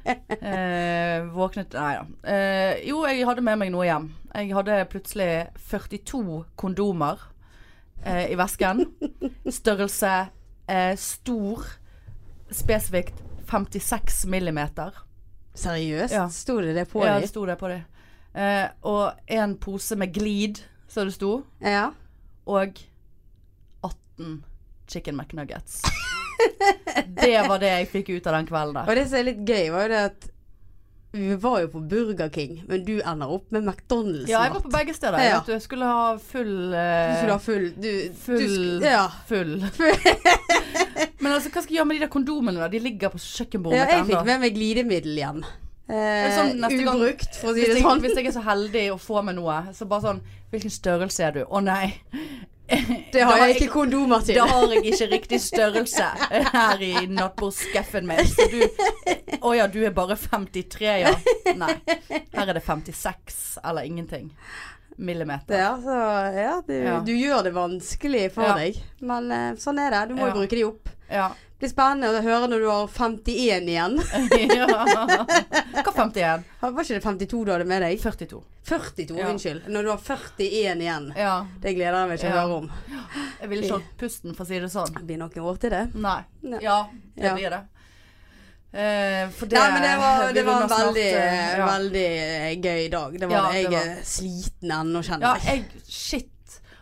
Eh, våknet Nei da. Eh, jo, jeg hadde med meg noe hjem. Jeg hadde plutselig 42 kondomer eh, i vesken. Størrelse eh, stor, spesifikt 56 millimeter. Seriøst? Ja. Sto det det på Ja, deg? det sto det på de. Eh, og en pose med glid, som det sto, Ja. og 18 chicken McNuggets. Det var det jeg fikk ut av den kvelden der. Og det som er litt gøy, var jo det at vi var jo på Burger King, men du ender opp med McDonald's. Ja, jeg var på begge steder. Jeg, Ja. vet du, jeg skulle ha full eh, Du skulle ha full Du, du full- sk- ja. Full. Men altså, hva skal jeg gjøre med de der kondomene? da? De ligger på kjøkkenbordet ja. Jeg mitt fikk ennå. med meg glidemiddel hjem. er Eh, sånn neste gang- ubrukt, for å si Hvis det jeg, sånn. hvis jeg er så heldig å få meg noe, så bare sånn Hvilken størrelse er du? Å nei. Det da har har jeg ikke kondomer til. Da har jeg ikke riktig størrelse her i nattbordskuffen min. Så du Å ja, du er bare 53, ja. Nei. Her er det 56 eller ingenting millimeter. Ja, så, ja, du, Ja. du gjør det vanskelig for Ja. deg. Men eh, sånn er det. Du må Ja. jo bruke de opp. Ja. Det blir spennende å høre når du har 51 igjen. ja. Hva 51? Var ikke det 52 du hadde med deg? 42. 42, Ja. unnskyld. Når du har 41 igjen. Ja. Det gleder jeg meg til å Ja. høre om. Jeg ville ikke holdt pusten, for å si det sånn. Det blir noen år til det. Nei. Nei. Ja, det Ja. blir det. Eh, for det Nei, men det var, vi det var en runder snart, veldig, eh, ja. veldig eh, gøy dag. Det var Ja, det. det Jeg var- er sliten ennå, Ja, kjenner jeg. jeg Shit.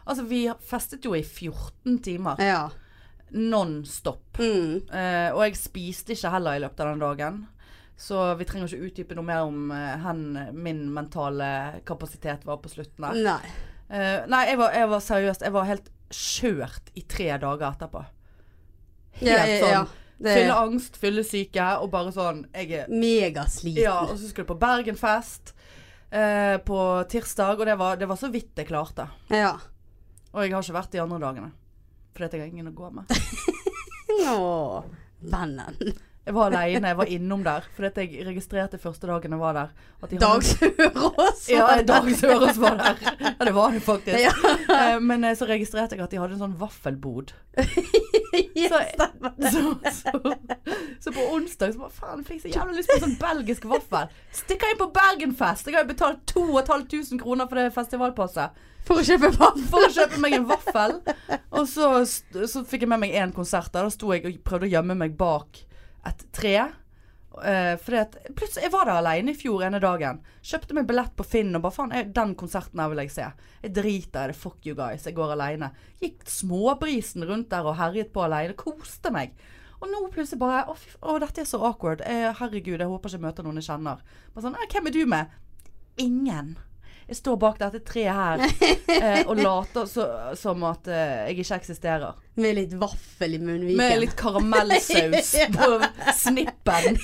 Altså, vi festet jo i 14 timer. Ja. Non stop. Mm. Eh, og jeg spiste ikke heller i løpet av den dagen. Så vi trenger ikke utdype noe mer om eh, hen min mentale kapasitet var på slutten der. Nei. Eh, nei, jeg var, jeg var seriøst Jeg var helt kjørt i tre dager etterpå. Helt Ja, ja, sånn ja. Det er fylleangst, fyllesyke og bare sånn Jeg er megasliten. Ja, og så skulle jeg på Bergenfest eh, på tirsdag, og det var, det var så vidt jeg klarte. Ja. Og jeg har ikke vært de andre dagene. For dette har ingen å gå med. Åh, vennen. Jeg var aleine, jeg var innom der. Fordi at jeg registrerte første dagen jeg var der. At de hadde- Dag Sørås. Ja, Dag Sørås var der. Ja, det var det faktisk. Ja. Eh, Men eh, så registrerte jeg at de hadde en sånn vaffelbod. Så, så, så, så på onsdag så bare faen, fikk jeg så jævlig lyst på en sånn belgisk vaffel. Stikker inn på Bergenfest! Jeg har jo betalt 2500 kroner for det festivalpasset For å kjøpe vann. for å kjøpe meg en vaffel. Og så, så fikk jeg med meg én konsert der. Da sto jeg og prøvde å gjemme meg bak et tre. Eh, fordi at plutselig Jeg var der alene i fjor ene dagen. Kjøpte meg billett på Finn og bare faen, jeg- den konserten her vil jeg se. Jeg driter i det, fuck you guys, jeg går alene. Gikk småbrisen rundt der og herjet på alene. Koste meg. Og nå plutselig bare Å, fy f- å dette er så awkward. Eh, herregud, jeg håper ikke jeg møter noen jeg kjenner. Bare sånn, eh, Hvem er du med? Ingen. Jeg står bak dette treet her eh, og later så, som at eh, jeg ikke eksisterer. Med litt vaffel i munnviken. Med litt karamellsaus Ja. på snippen.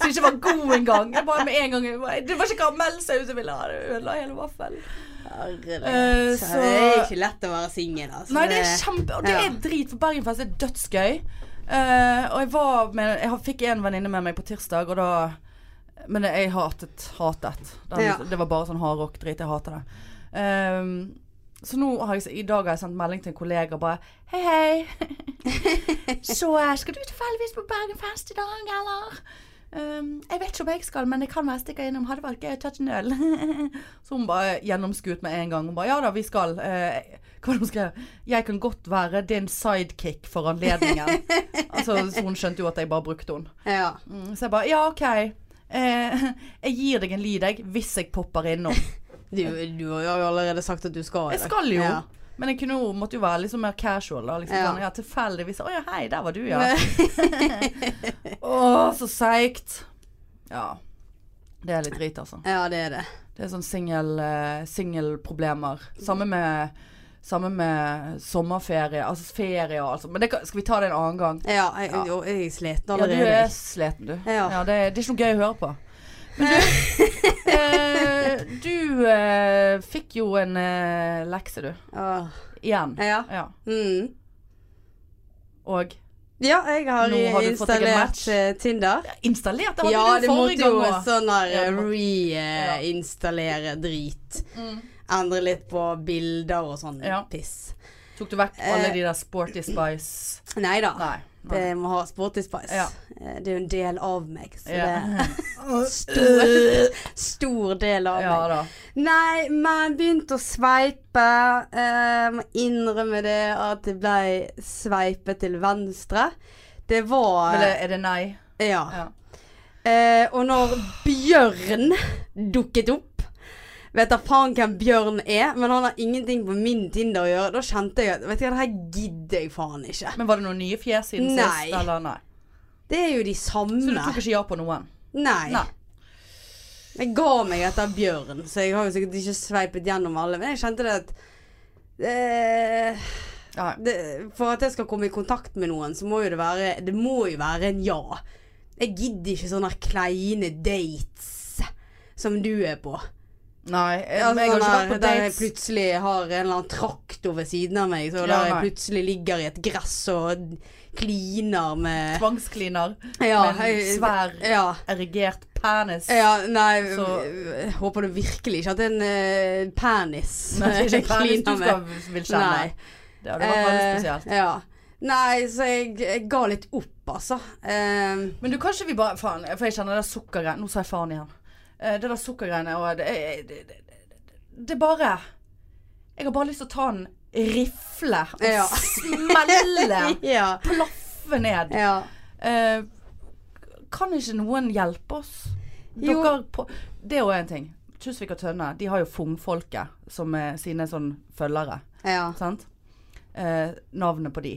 Som ikke var god engang. Jeg bare med en gang jeg bare, Det var ikke karamellsaus jeg ville ha, det ødela hele vaffelen. Herregud. Eh, så- Det er ikke lett å være singel, altså. Nei, det er kjempe Og det ja. er drit, for Bergenfest er dødsgøy. Eh, og jeg var med Jeg har- fikk en venninne med meg på tirsdag, og da Men jeg hatet hatet. Den, Ja. Det var bare sånn hardrock-drit. Jeg hater det. Ehm, så nå har jeg, i dag har jeg sendt melding til en kollega og bare Hei, hei. så eh, skal du tilfeldigvis på Bergenfest i dag, eller? Ehm, jeg vet ikke om jeg skal, men jeg kan være stikker innom. Hadde vært gøy å ta en øl. så hun bare gjennomskuet med en gang. Hun bare ja da, vi skal. Eh, hva var det hun skrev? Jeg kan godt være din sidekick for anledningen. altså, så hun skjønte jo at jeg bare brukte henne. Ja. Mm, så jeg bare ja, OK. Eh, jeg gir deg en lyd, jeg, hvis jeg popper innom. Du, du har jo allerede sagt at du skal. Jeg eller? skal jo. Ja. Men jeg kunne, jo- måtte jo være liksom mer casual. da liksom, Ja. Sånn, ja, tilfeldigvis. Å ja, hei, der var du, ja. Å, så seigt. Ja. Det er litt drit, altså. ja, det er det. Det er sånn singel eh, singelproblemer. Samme med Samme med sommerferie, altså ferie og alt sånt. Men det kan, skal vi ta det en annen gang. Ja, jeg, Ja. jo, jeg er sliten Ja, du allerede. er sliten, du. Ja. det, er- det er ikke noe gøy å høre på. Men du eh, Du eh, fikk jo en eh, lekse, du. Åh, Igjen. Ja. Ja. Mm. Og Ja, jeg har, Nå har du fått deg en installert match. eh, Tinder. installert! Det hadde Ja, du det forrige måtte jo gang òg. sånn Ja, her det må- Mm. reinstallere drit. Endre litt på bilder og sånn Ja. piss. Tok du vekk alle Eh. de der Sporty Spice Nei da. Nei. nei. Jeg må ha Sporty Spice. Ja. Eh, Det er jo en del av meg, så det Ja. er stor, stor del av ja meg. da. Nei, men begynte å sveipe. Eh, Må innrømme det at det ble sveipet til venstre. Det var Men er det nei? Ja. Ja. Eh, og når Bjørn dukket opp Vet da faen hvem Bjørn er, men han har ingenting på min Tinder å gjøre. Da kjente jeg at Vet du hva, det her gidder jeg faen ikke. Men var det noen nye fjes siden Nei. sist? Eller nei? Det er jo de Så du samme. tok ikke ja på noen? Nei. Nei. Jeg ga meg etter Bjørn, så jeg har jo sikkert ikke sveipet gjennom alle. Men jeg kjente det at eh, Nei. det, For at jeg skal komme i kontakt med noen, så må jo det være Det må jo være en ja. Jeg gidder ikke sånne kleine dates som du er på. nei. Jeg, Ja, jeg har ikke sånn vært på der, der jeg dates. plutselig har en eller annen traktor ved siden av meg, så Ja, der jeg nei. plutselig ligger i et gress og kliner med Tvangskliner ja, med en jeg- svær, ja. erigert penis. Ja, nei Så- jeg Håper du virkelig ikke at en uh, penis Nei, det er ikke en penis du kliner med. skal, vil kjenne. Nei. Det hadde vært veldig Eh, spesielt. ja. Nei, så jeg, jeg ga litt opp, altså. Eh, Men du, kanskje vi bare Faen, for jeg kjenner det der sukkeret Nå sa jeg faen igjen. Eh, Det der sukkergreiene og det, det, det, det, det- det er bare Jeg har bare lyst til å ta en rifle og Ja. smelle. ja. Plaffe ned. ja. Eh, kan ikke noen hjelpe oss? Jo. Dere på, det er jo en ting. Kjusvik og Tønne de har jo Fungfolket som er sine sånn følgere. Ja. Sant? Eh, navnet på de.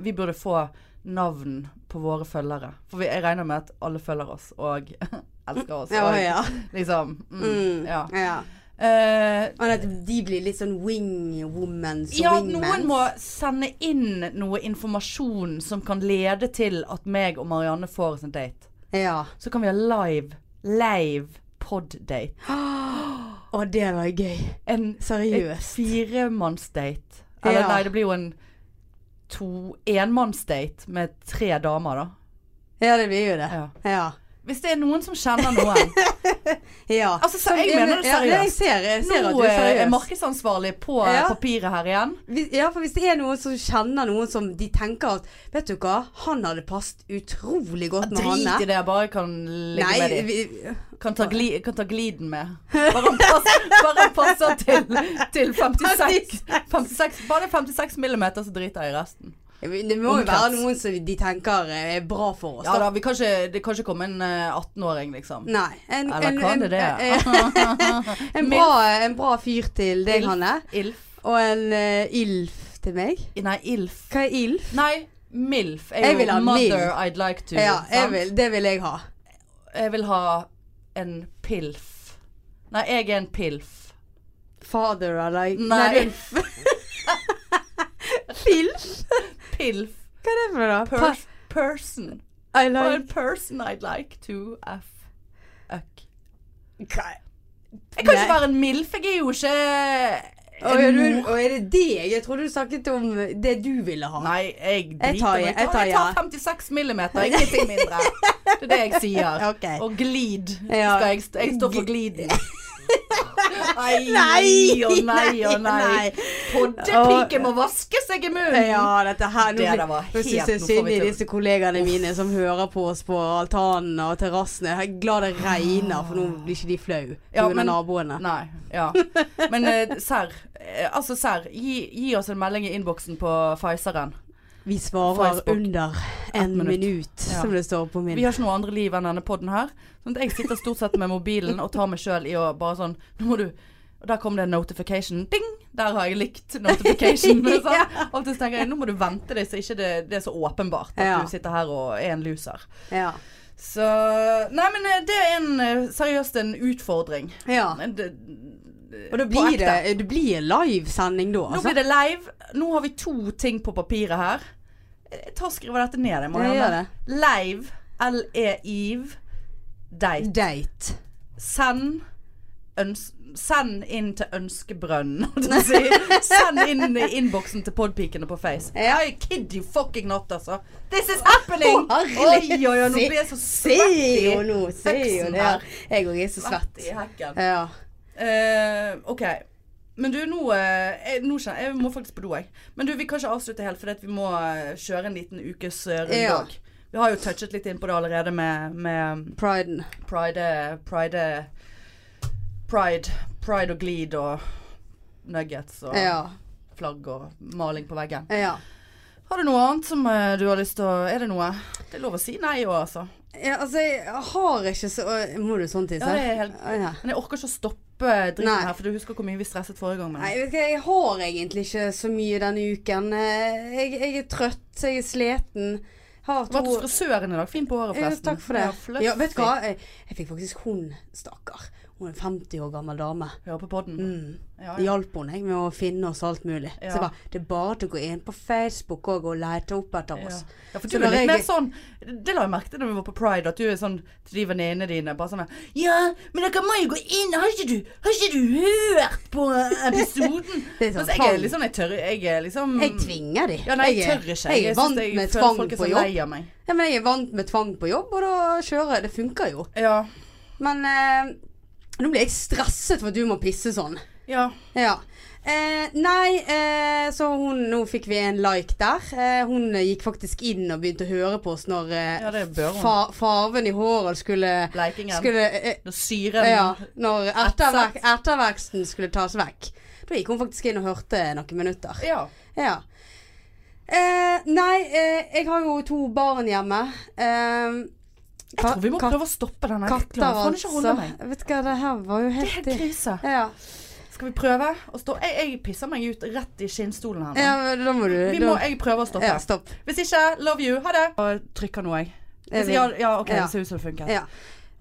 Vi burde få navn på våre følgere. For vi, jeg regner med at alle følger oss og elsker oss. Ja, og ja. liksom mm, Mm, Ja. ja. Eh, Men at de blir litt sånn wingwomans og ja, wingmans. noen må sende inn noe informasjon som kan lede til at meg og Marianne får oss en date. Ja. Så kan vi ha live Live poddate. Å, det var gøy. En Seriøst. firemannsdate. Eller Ja. nei, det blir jo en to enmannsdate med tre damer, da. Ja, det blir jo det. Ja. Ja. Hvis det er noen som kjenner noen. ja. Altså, så, jeg Ja, mener det ja, nei, jeg seriøst. ser, jeg ser at Nå du er eh, er seriøs. markedsansvarlig på eh, Ja. papiret her igjen. Hvis- Ja, for hvis det er noen som kjenner noen som de tenker at Vet du hva, han hadde passet utrolig godt med Drit i Hanne. det, jeg bare kan ligge med Nei, dem. vi, Kan ta, gli, kan ta gliden med. Bare han passer, bare han passer til, til 56. 56. Bare det er 56 millimeter, så driter jeg i resten. vi, det må jo være Omkrets. noen som de tenker er bra for oss. Ja da. da, vi kan ikke, det kan ikke komme en eh, 18-åring, liksom. Nei. En, Eller en, kan det det? en, en, bra, en bra fyr til deg, Milf. Hanne. Ilf? Og en eh, ilf til meg. Nei, ilf. Hva er ilf? Nei, milf er Jeg jo vil ha mother milf. I'd like to. Ja, jeg sant? vil, det vil jeg ha. jeg vil ha en pilf. Nei, jeg er en pilf. Father I like Nei. du er en f- Filf? Pilf. Hva er det for noe? Per person. Pa- I Or a like person I'd like to f... Uck. Hva- Jeg kan ikke Nei. være en milf, jeg er jo ikke Å, er, en du, mor. å, er det deg? Jeg trodde du snakket om det du ville ha. Nei, jeg driter Jeg tar ja, meg. jeg tar ja. 56 millimeter, ingenting mindre. Det er det jeg sier. Ok. Og glid. Ja. Skal jeg, st jeg står for gliden. Nei, Nei, og nei og nei. nei. Poddepike må vaskes jeg i munnen. Ja, dette her Nå, Det det der var nå helt- syns jeg nå får synd vi i til- disse kollegaene mine som hører på oss på altanene og terrassene. Jeg er glad det regner, for nå blir ikke de flau pga. Ja, av men- naboene. Nei. Ja. Men eh, serr, eh, altså serr, gi, gi oss en melding i innboksen på Pfizeren. Vi svarer Facebook. under en minutt. minutt, Ja. som det står på min. Vi har ikke noe andre liv enn denne podden her. Sånn at jeg sitter stort sett med mobilen og tar meg sjøl i å bare sånn Nå må du og Der kom det en notification. Ding! Der har jeg likt notification. Ja. sant? Av og til så tenker jeg nå må du vente deg så ikke det, det er så åpenbart at Ja. du sitter her og er en loser. Ja. Så Nei, men eh, det er en, eh, seriøst en utfordring. ja. Men Det, Og da på blir ekte. det, det blir livesending da, Nå altså. blir det live. Nå har vi to ting på papiret her. Jeg tar og skriver dette ned. jeg, Marianne. Jeg gjør det. Live. L-e-iv. Date. Date. Send øns Send inn til ønskebrønnen, holdt jeg på å si. Send inn i innboksen til podpikene på Face. Ja. I kid you fucking not, altså. This is happening! Å, oi, herregud. oi, oi, nå blir jeg så Se svett i jo nå, se jo Heksen det her. her. Jeg òg er så svett svett. i hekken. Ja. Eh, OK. Men du, nå, eh, jeg, nå kjenner, jeg må faktisk på do, jeg. Men du, vi kan ikke avslutte helt, for vi må eh, kjøre en liten ukes eh, runde Ja. òg. Vi har jo touchet litt inn på det allerede med, med mm, Priden. pride, pride Pride Pride og glid og nuggets og Ja. flagg og maling på veggen. Ja. Har du noe annet som eh, du har lyst til å Er det noe? Det er lov å si nei òg, altså. ja. Altså, jeg har ikke så Å, Må du sånn til, Ja, det er helt, Ja. men jeg orker ikke å stoppe dritten Nei. her, for du husker hvor mye vi stresset forrige gang med Nei, det. jeg vet ikke, jeg har egentlig ikke så mye denne uken. Eh, Jeg, jeg er trøtt, jeg er sliten. Har Du var to til frisøren i dag. Fin på håret, Ja, forresten. Takk for det. Ja, fluffy. Ja, vet du hva? Jeg, jeg fikk faktisk hun, stakkar. Hun er en 50 år gammel dame. Hører på podden. Mm. Ja, Det ja. hjalp hun jeg, med å finne oss alt mulig. Ja. Så jeg bare, det er bare til å gå inn på Facebook og, og lete opp etter Ja. oss. ja, for Så du når er litt jeg- mer sånn Det la jeg merke til da vi var på Pride, at du er sånn til de venninnene dine bare sånn Ja, men dere må jo gå inn! Har ikke du, har ikke du hørt på episoden? Det er sånn Mens jeg er tvang. liksom Jeg tør Jeg er liksom Jeg tvinger de. Ja, nei, jeg jeg, er- tør ikke. Jeg er synes vant jeg med føler tvang folk er på så jobb. lei av meg. Ja, men jeg er vant med tvang på jobb, og da kjører jeg. Det funker jo. Ja. Men eh, nå blir jeg stresset for at du må pisse sånn. Ja. Ja. Eh, nei, eh, så hun, nå fikk vi en like der. Eh, hun eh, gikk faktisk inn og begynte å høre på oss når eh, Ja, det bør hun. fa farven i håret skulle, Bleikingen. skulle eh, Når syren Ja, når etterverk, etterveksten skulle tas vekk. Da gikk hun faktisk inn og hørte noen minutter. ja. Ja. Eh, nei, eh, jeg har jo to barn hjemme. Eh, Jeg tror vi må prøve å stoppe den. her. Jeg Katter, klarer faen ikke å holde meg. Vet du hva, det her var Det jo er helt helt krise. Ja, Skal vi prøve å stå Jeg, jeg pisser meg ut rett i skinnstolen her nå. ja men da må du Vi da- må, jeg prøver å stoppe. Ja, stopp. Hvis ikke, love you. Ha det. Og trykker nå, jeg. Jeg Hvis, vil- ja, ja, OK. Ja. Det ser ut som det funker. Ja.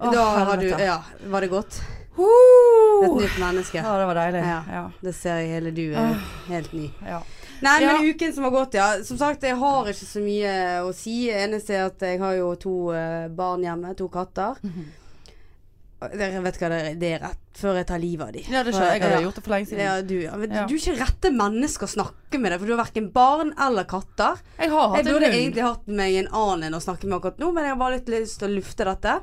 Å, da har du helvete. Ja, var det godt? Et Huh. nytt menneske. Ja, det var deilig. Ja. Ja. Det ser jeg hele du er helt ny. ja. Nei, Ja. men uken som har gått, ja. Som sagt, jeg har ikke så mye å si. Eneste er at jeg har jo to eh, barn hjemme, to katter. Mhm. Og Dere vet hva, det er, det er rett før jeg tar livet av de. ja, det skjønner jeg. Jeg hadde gjort det for lenge siden. Ja, du, ja. Men Ja. du er ikke rette menneske å snakke med deg, for du har verken barn eller katter. Jeg har Jeg hatt en burde hund. egentlig hatt meg en annen enn å snakke med akkurat nå, men jeg har bare litt lyst til å lufte dette.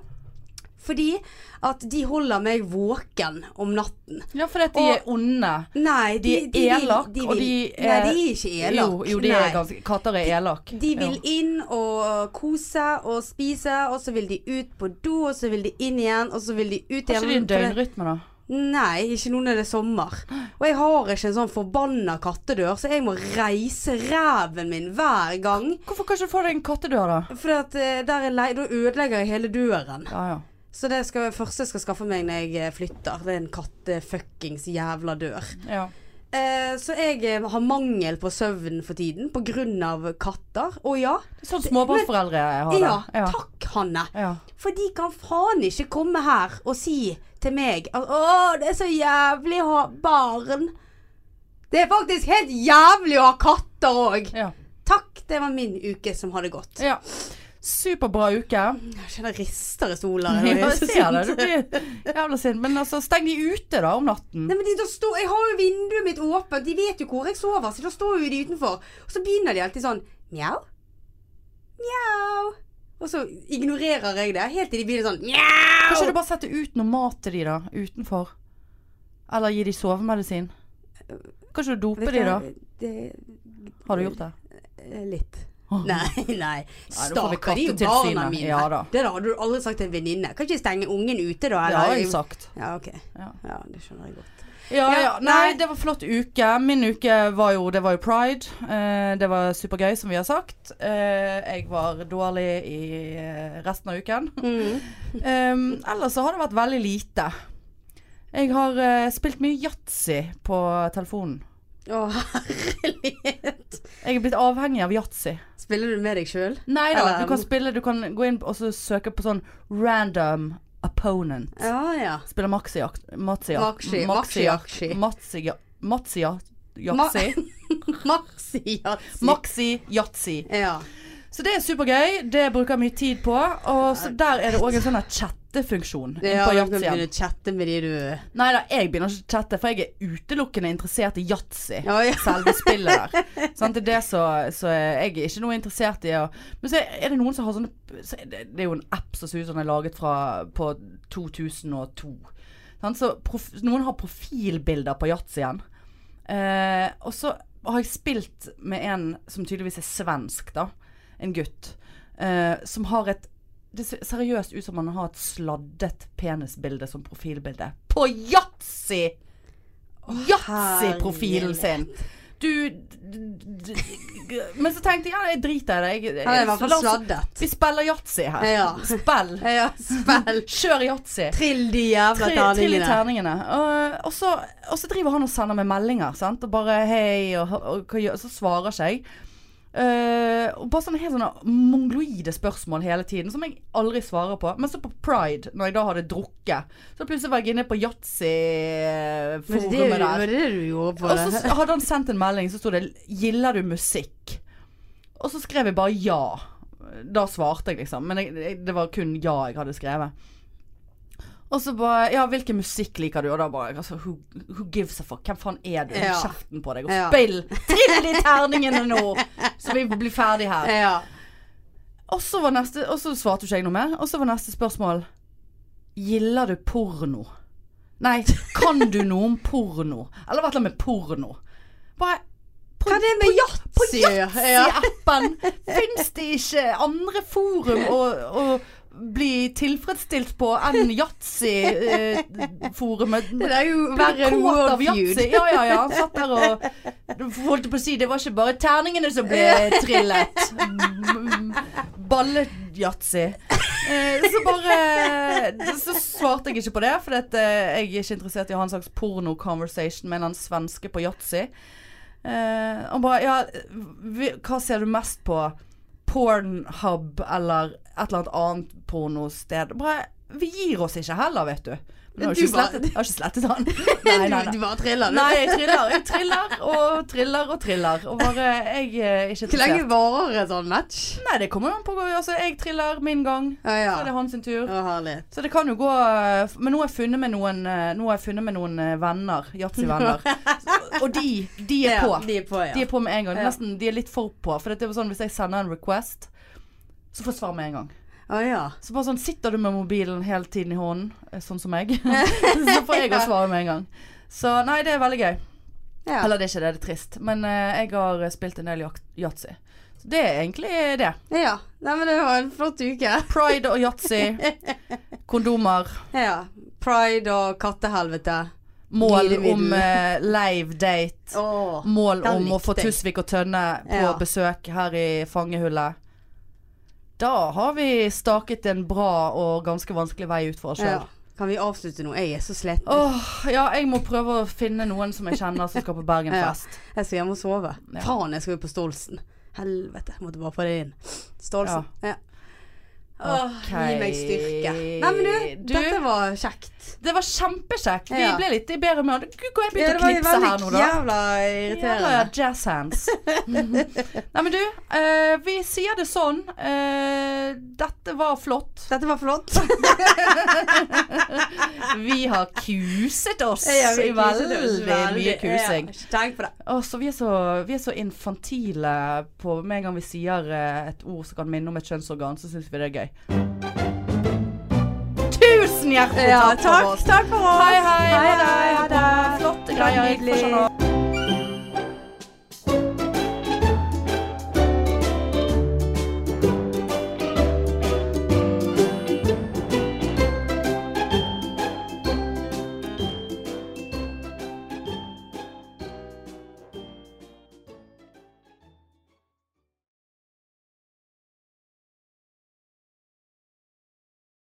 Fordi at de holder meg våken om natten. Ja, fordi at de Og- er onde. Nei, de, De er vil- elak, og vil- de Nei, er- de er ikke elak. Jo, jo de Nei. er ganske Katter er elake. De vil inn og kose og spise, og så vil de ut på do, og så vil de inn igjen, og så vil de ut Har igjen. ikke de en For det- døgnrytme, da? Nei, ikke nå når det er sommer. Og jeg har ikke en sånn forbanna kattedør, så jeg må reise ræven min hver gang. Hvorfor kan ikke du få deg en kattedør, da? For at, eh, der er lei, da ødelegger jeg hele døren. Ja, ja. Så det skal, første jeg skal skaffe meg når jeg eh, flytter, det er en kattefuckings jævla dør. ja. Eh, så jeg eh, har mangel på søvn for tiden pga. katter. Å ja. Det er sånn småbarnsforeldre har ja. det. Ja. Takk, Hanne. ja. For de kan faen ikke komme her og si til meg at 'Å, det er så jævlig å ha barn'. Det er faktisk helt jævlig å ha katter òg. ja. Takk, det var min uke som hadde gått. ja. Superbra uke. Jeg kjenner rister i stolen. Ja, Jeg er jeg så ser det. sint. Du blir jævla sint. Men altså, steng de ute, da, om natten. Nei, men de, da står, Jeg har jo vinduet mitt åpent, de vet jo hvor jeg sover, så da står jo de utenfor. Og så begynner de alltid sånn mjau, mjau. Og så ignorerer jeg det helt til de begynner sånn Kanskje mjau. du bare setter ut noe mat til de, da? Utenfor? Eller gi de sovemedisin? Kanskje du doper de, da? Det, Har du gjort det? eh, litt. Åh. Nei, nei. Ja, da får vi Stakkar, de er jo Kattetilsynet. barna mine. Ja da. Det da hadde du aldri sagt til en venninne. Kan ikke stenge ungen ute, da? Det Eller? har jeg sagt. Ja, ok. Ja. Ja, det skjønner jeg godt. Ja, ja. Ja, Nei, nei. det var flott uke. Min uke var jo Det var jo pride. Eh, det var supergøy, som vi har sagt. Eh, jeg var dårlig i eh, resten av uken. Mm. Em, Ehm, ellers så har det vært veldig lite. Jeg har eh, spilt mye yatzy på telefonen. Å, herlighet. Jeg er blitt avhengig av yatzy. Spiller du med deg sjøl? Nei da, Eller- du kan spille Du kan gå inn og så søke på sånn random opponent. Ja, ja. Spiller maxijakt Maxia. Maxi- maxi-yakshi. Maxia. Maxia. Ma- Yatzy. Maxi-yatzy. Maxi-yatzy. ja. Så det er supergøy. Det bruker jeg mye tid på. Og så der er det òg en sånn her chattefunksjon. Det inne er på jo Yatzyen. begynne å chatte med de du Nei da, jeg begynner ikke å chatte, for jeg er utelukkende interessert i yatzy. Ja, ja. Selve spillet der. Sant? Det er det så, så jeg er ikke noe interessert i å Men så er det noen som har sånne så er det, det er jo en app som ser ut som den er laget fra på 2002. Sant? Så prof, noen har profilbilder på yatzyen. Eh, og så har jeg spilt med en som tydeligvis er svensk, da. En gutt. Eh, som har et Det ser seriøst ut som han har et sladdet penisbilde som profilbilde. På yatzy! Yatzy-profilen sin. Du d- d- d- Men så tenkte jeg ja, jeg driter i det. Jeg, jeg, Han er i hvert fall la oss- sladdet. vi spiller yatzy her. Ja. Spill. Ja, spill. Kjør yatzy. Trill de jævla Tre- Trill i terningene. terningene. Og, og, så, og så driver han og sender meg meldinger, sant. Og bare hei, og, og, hva gjør- så svarer ikke jeg. Eh, og bare sånne helt sånne mongoloide spørsmål hele tiden, som jeg aldri svarer på. Men så på Pride, når jeg da hadde drukket, så plutselig var jeg inne på Men det yatzy-forumet var der. det du gjorde på Og så det. s- hadde han sendt en melding, så sto det 'Gilder du musikk?' Og så skrev jeg bare ja. Da svarte jeg, liksom. Men jeg, jeg, det var kun ja jeg hadde skrevet. Og så bare Ja, hvilken musikk liker du? Og da bare altså, who, who gives a fuck? Hvem faen er du? Ja. Kjeften på deg, og Ja. spill! Trill i terningene nå! Så vi blir ferdig her. Ja. Og så var neste Og så svarte ikke jeg noe mer. Og så var neste spørsmål Gilder du porno? Nei, kan du noe om porno? Eller hva er det med porno? Bare på, Hva er det med på yatzy? Ja. Yatzy-appen fins det ikke andre forum å, å bli tilfredsstilt på enn eh, Yatzy-forumet. Det er jo verre Ble enn kåt av Warfeud. Yatzy. Ja, ja, ja. Han satt der og holdt på å si det var ikke bare terningene som ble trillet. Ballet-yatzy. Eh, Så bare Så svarte jeg ikke på det, for at eh, jeg er ikke interessert i å ha en slags porno-conversation med en eller annen svenske på yatzy. Eh, Han bare Ja, vi- hva ser du mest på? Pornhub eller et eller annet annet pornosted. Bare Vi gir oss ikke heller, vet du. Men jeg har Du ikke bare- slettet, jeg har ikke slettet han. Nei, nei, Du, nei. du bare triller, du. Nei, jeg triller. Jeg triller og triller og triller. Og bare Jeg eh, er ikke Hvor lenge interessert. varer en sånn match? Nei, det kommer jo an på. Altså, jeg triller min gang. Å ja. Så er det hans sin tur. Å, herlighet. Så det kan jo gå eh, Men nå har jeg funnet med noen, eh, nå har jeg funnet med noen eh, venner. Yatzy-venner. Og de, de er på. Ja, de er på, ja. De er på med en gang. Ja. Nesten, de er litt for på. For det er jo sånn, hvis jeg sender en request, så får jeg svar med en gang. Å ja. Så bare sånn, sitter du med mobilen hele tiden i hånden, eh, sånn som meg, så får jeg også svare med en gang. Så nei, det er veldig gøy. ja. Eller det er ikke det, det er trist. Men eh, jeg har spilt en del jak- yatzy. Så det er egentlig det. ja. Nei, men det var en flott uke. Pride og yatzy. Kondomer. Ja. Pride og kattehelvete. Mål Glidemiddel. om eh, live date. Åh. Mål den om å få likte jeg. Tusvik og Tønne på Ja. besøk her i fangehullet. Da har vi staket en bra og ganske vanskelig vei ut for oss Ja. sjøl. Kan vi avslutte nå? Jeg er så sliten. Åh, ja, jeg må prøve å finne noen som jeg kjenner som skal på Bergenfest. Jeg skal hjem og sove. Ja. Faen, jeg skal jo på Stolsen. Helvete, jeg måtte bare få det inn. Stolsen. Ja. Åh, Ok. Gi meg styrke. Nei, men du, Du- dette var kjekt. Det var kjempekjekt. Vi Ja. ble litt i bedre humør. Gud, hvor jeg Ja, begynte å knipse her nå, da. jævla Jævla irriterende. jazz hands. Nei, men du, eh, vi sier det sånn. eh, dette var flott. Dette var flott. Vi har kuset oss Ja, i vi kuset veldig oss mye veldig. kusing. Ja, tenk på det. Å, så vi, er så, vi er så infantile på Med en gang vi sier eh, et ord som kan minne om et kjønnsorgan, så syns vi det er gøy. Tusen hjertelig Ja, takk for takk, oss. takk for oss. Hei, hei. Hei, ha det, hei, ha det. Flotte greier. Jeg får sånn å-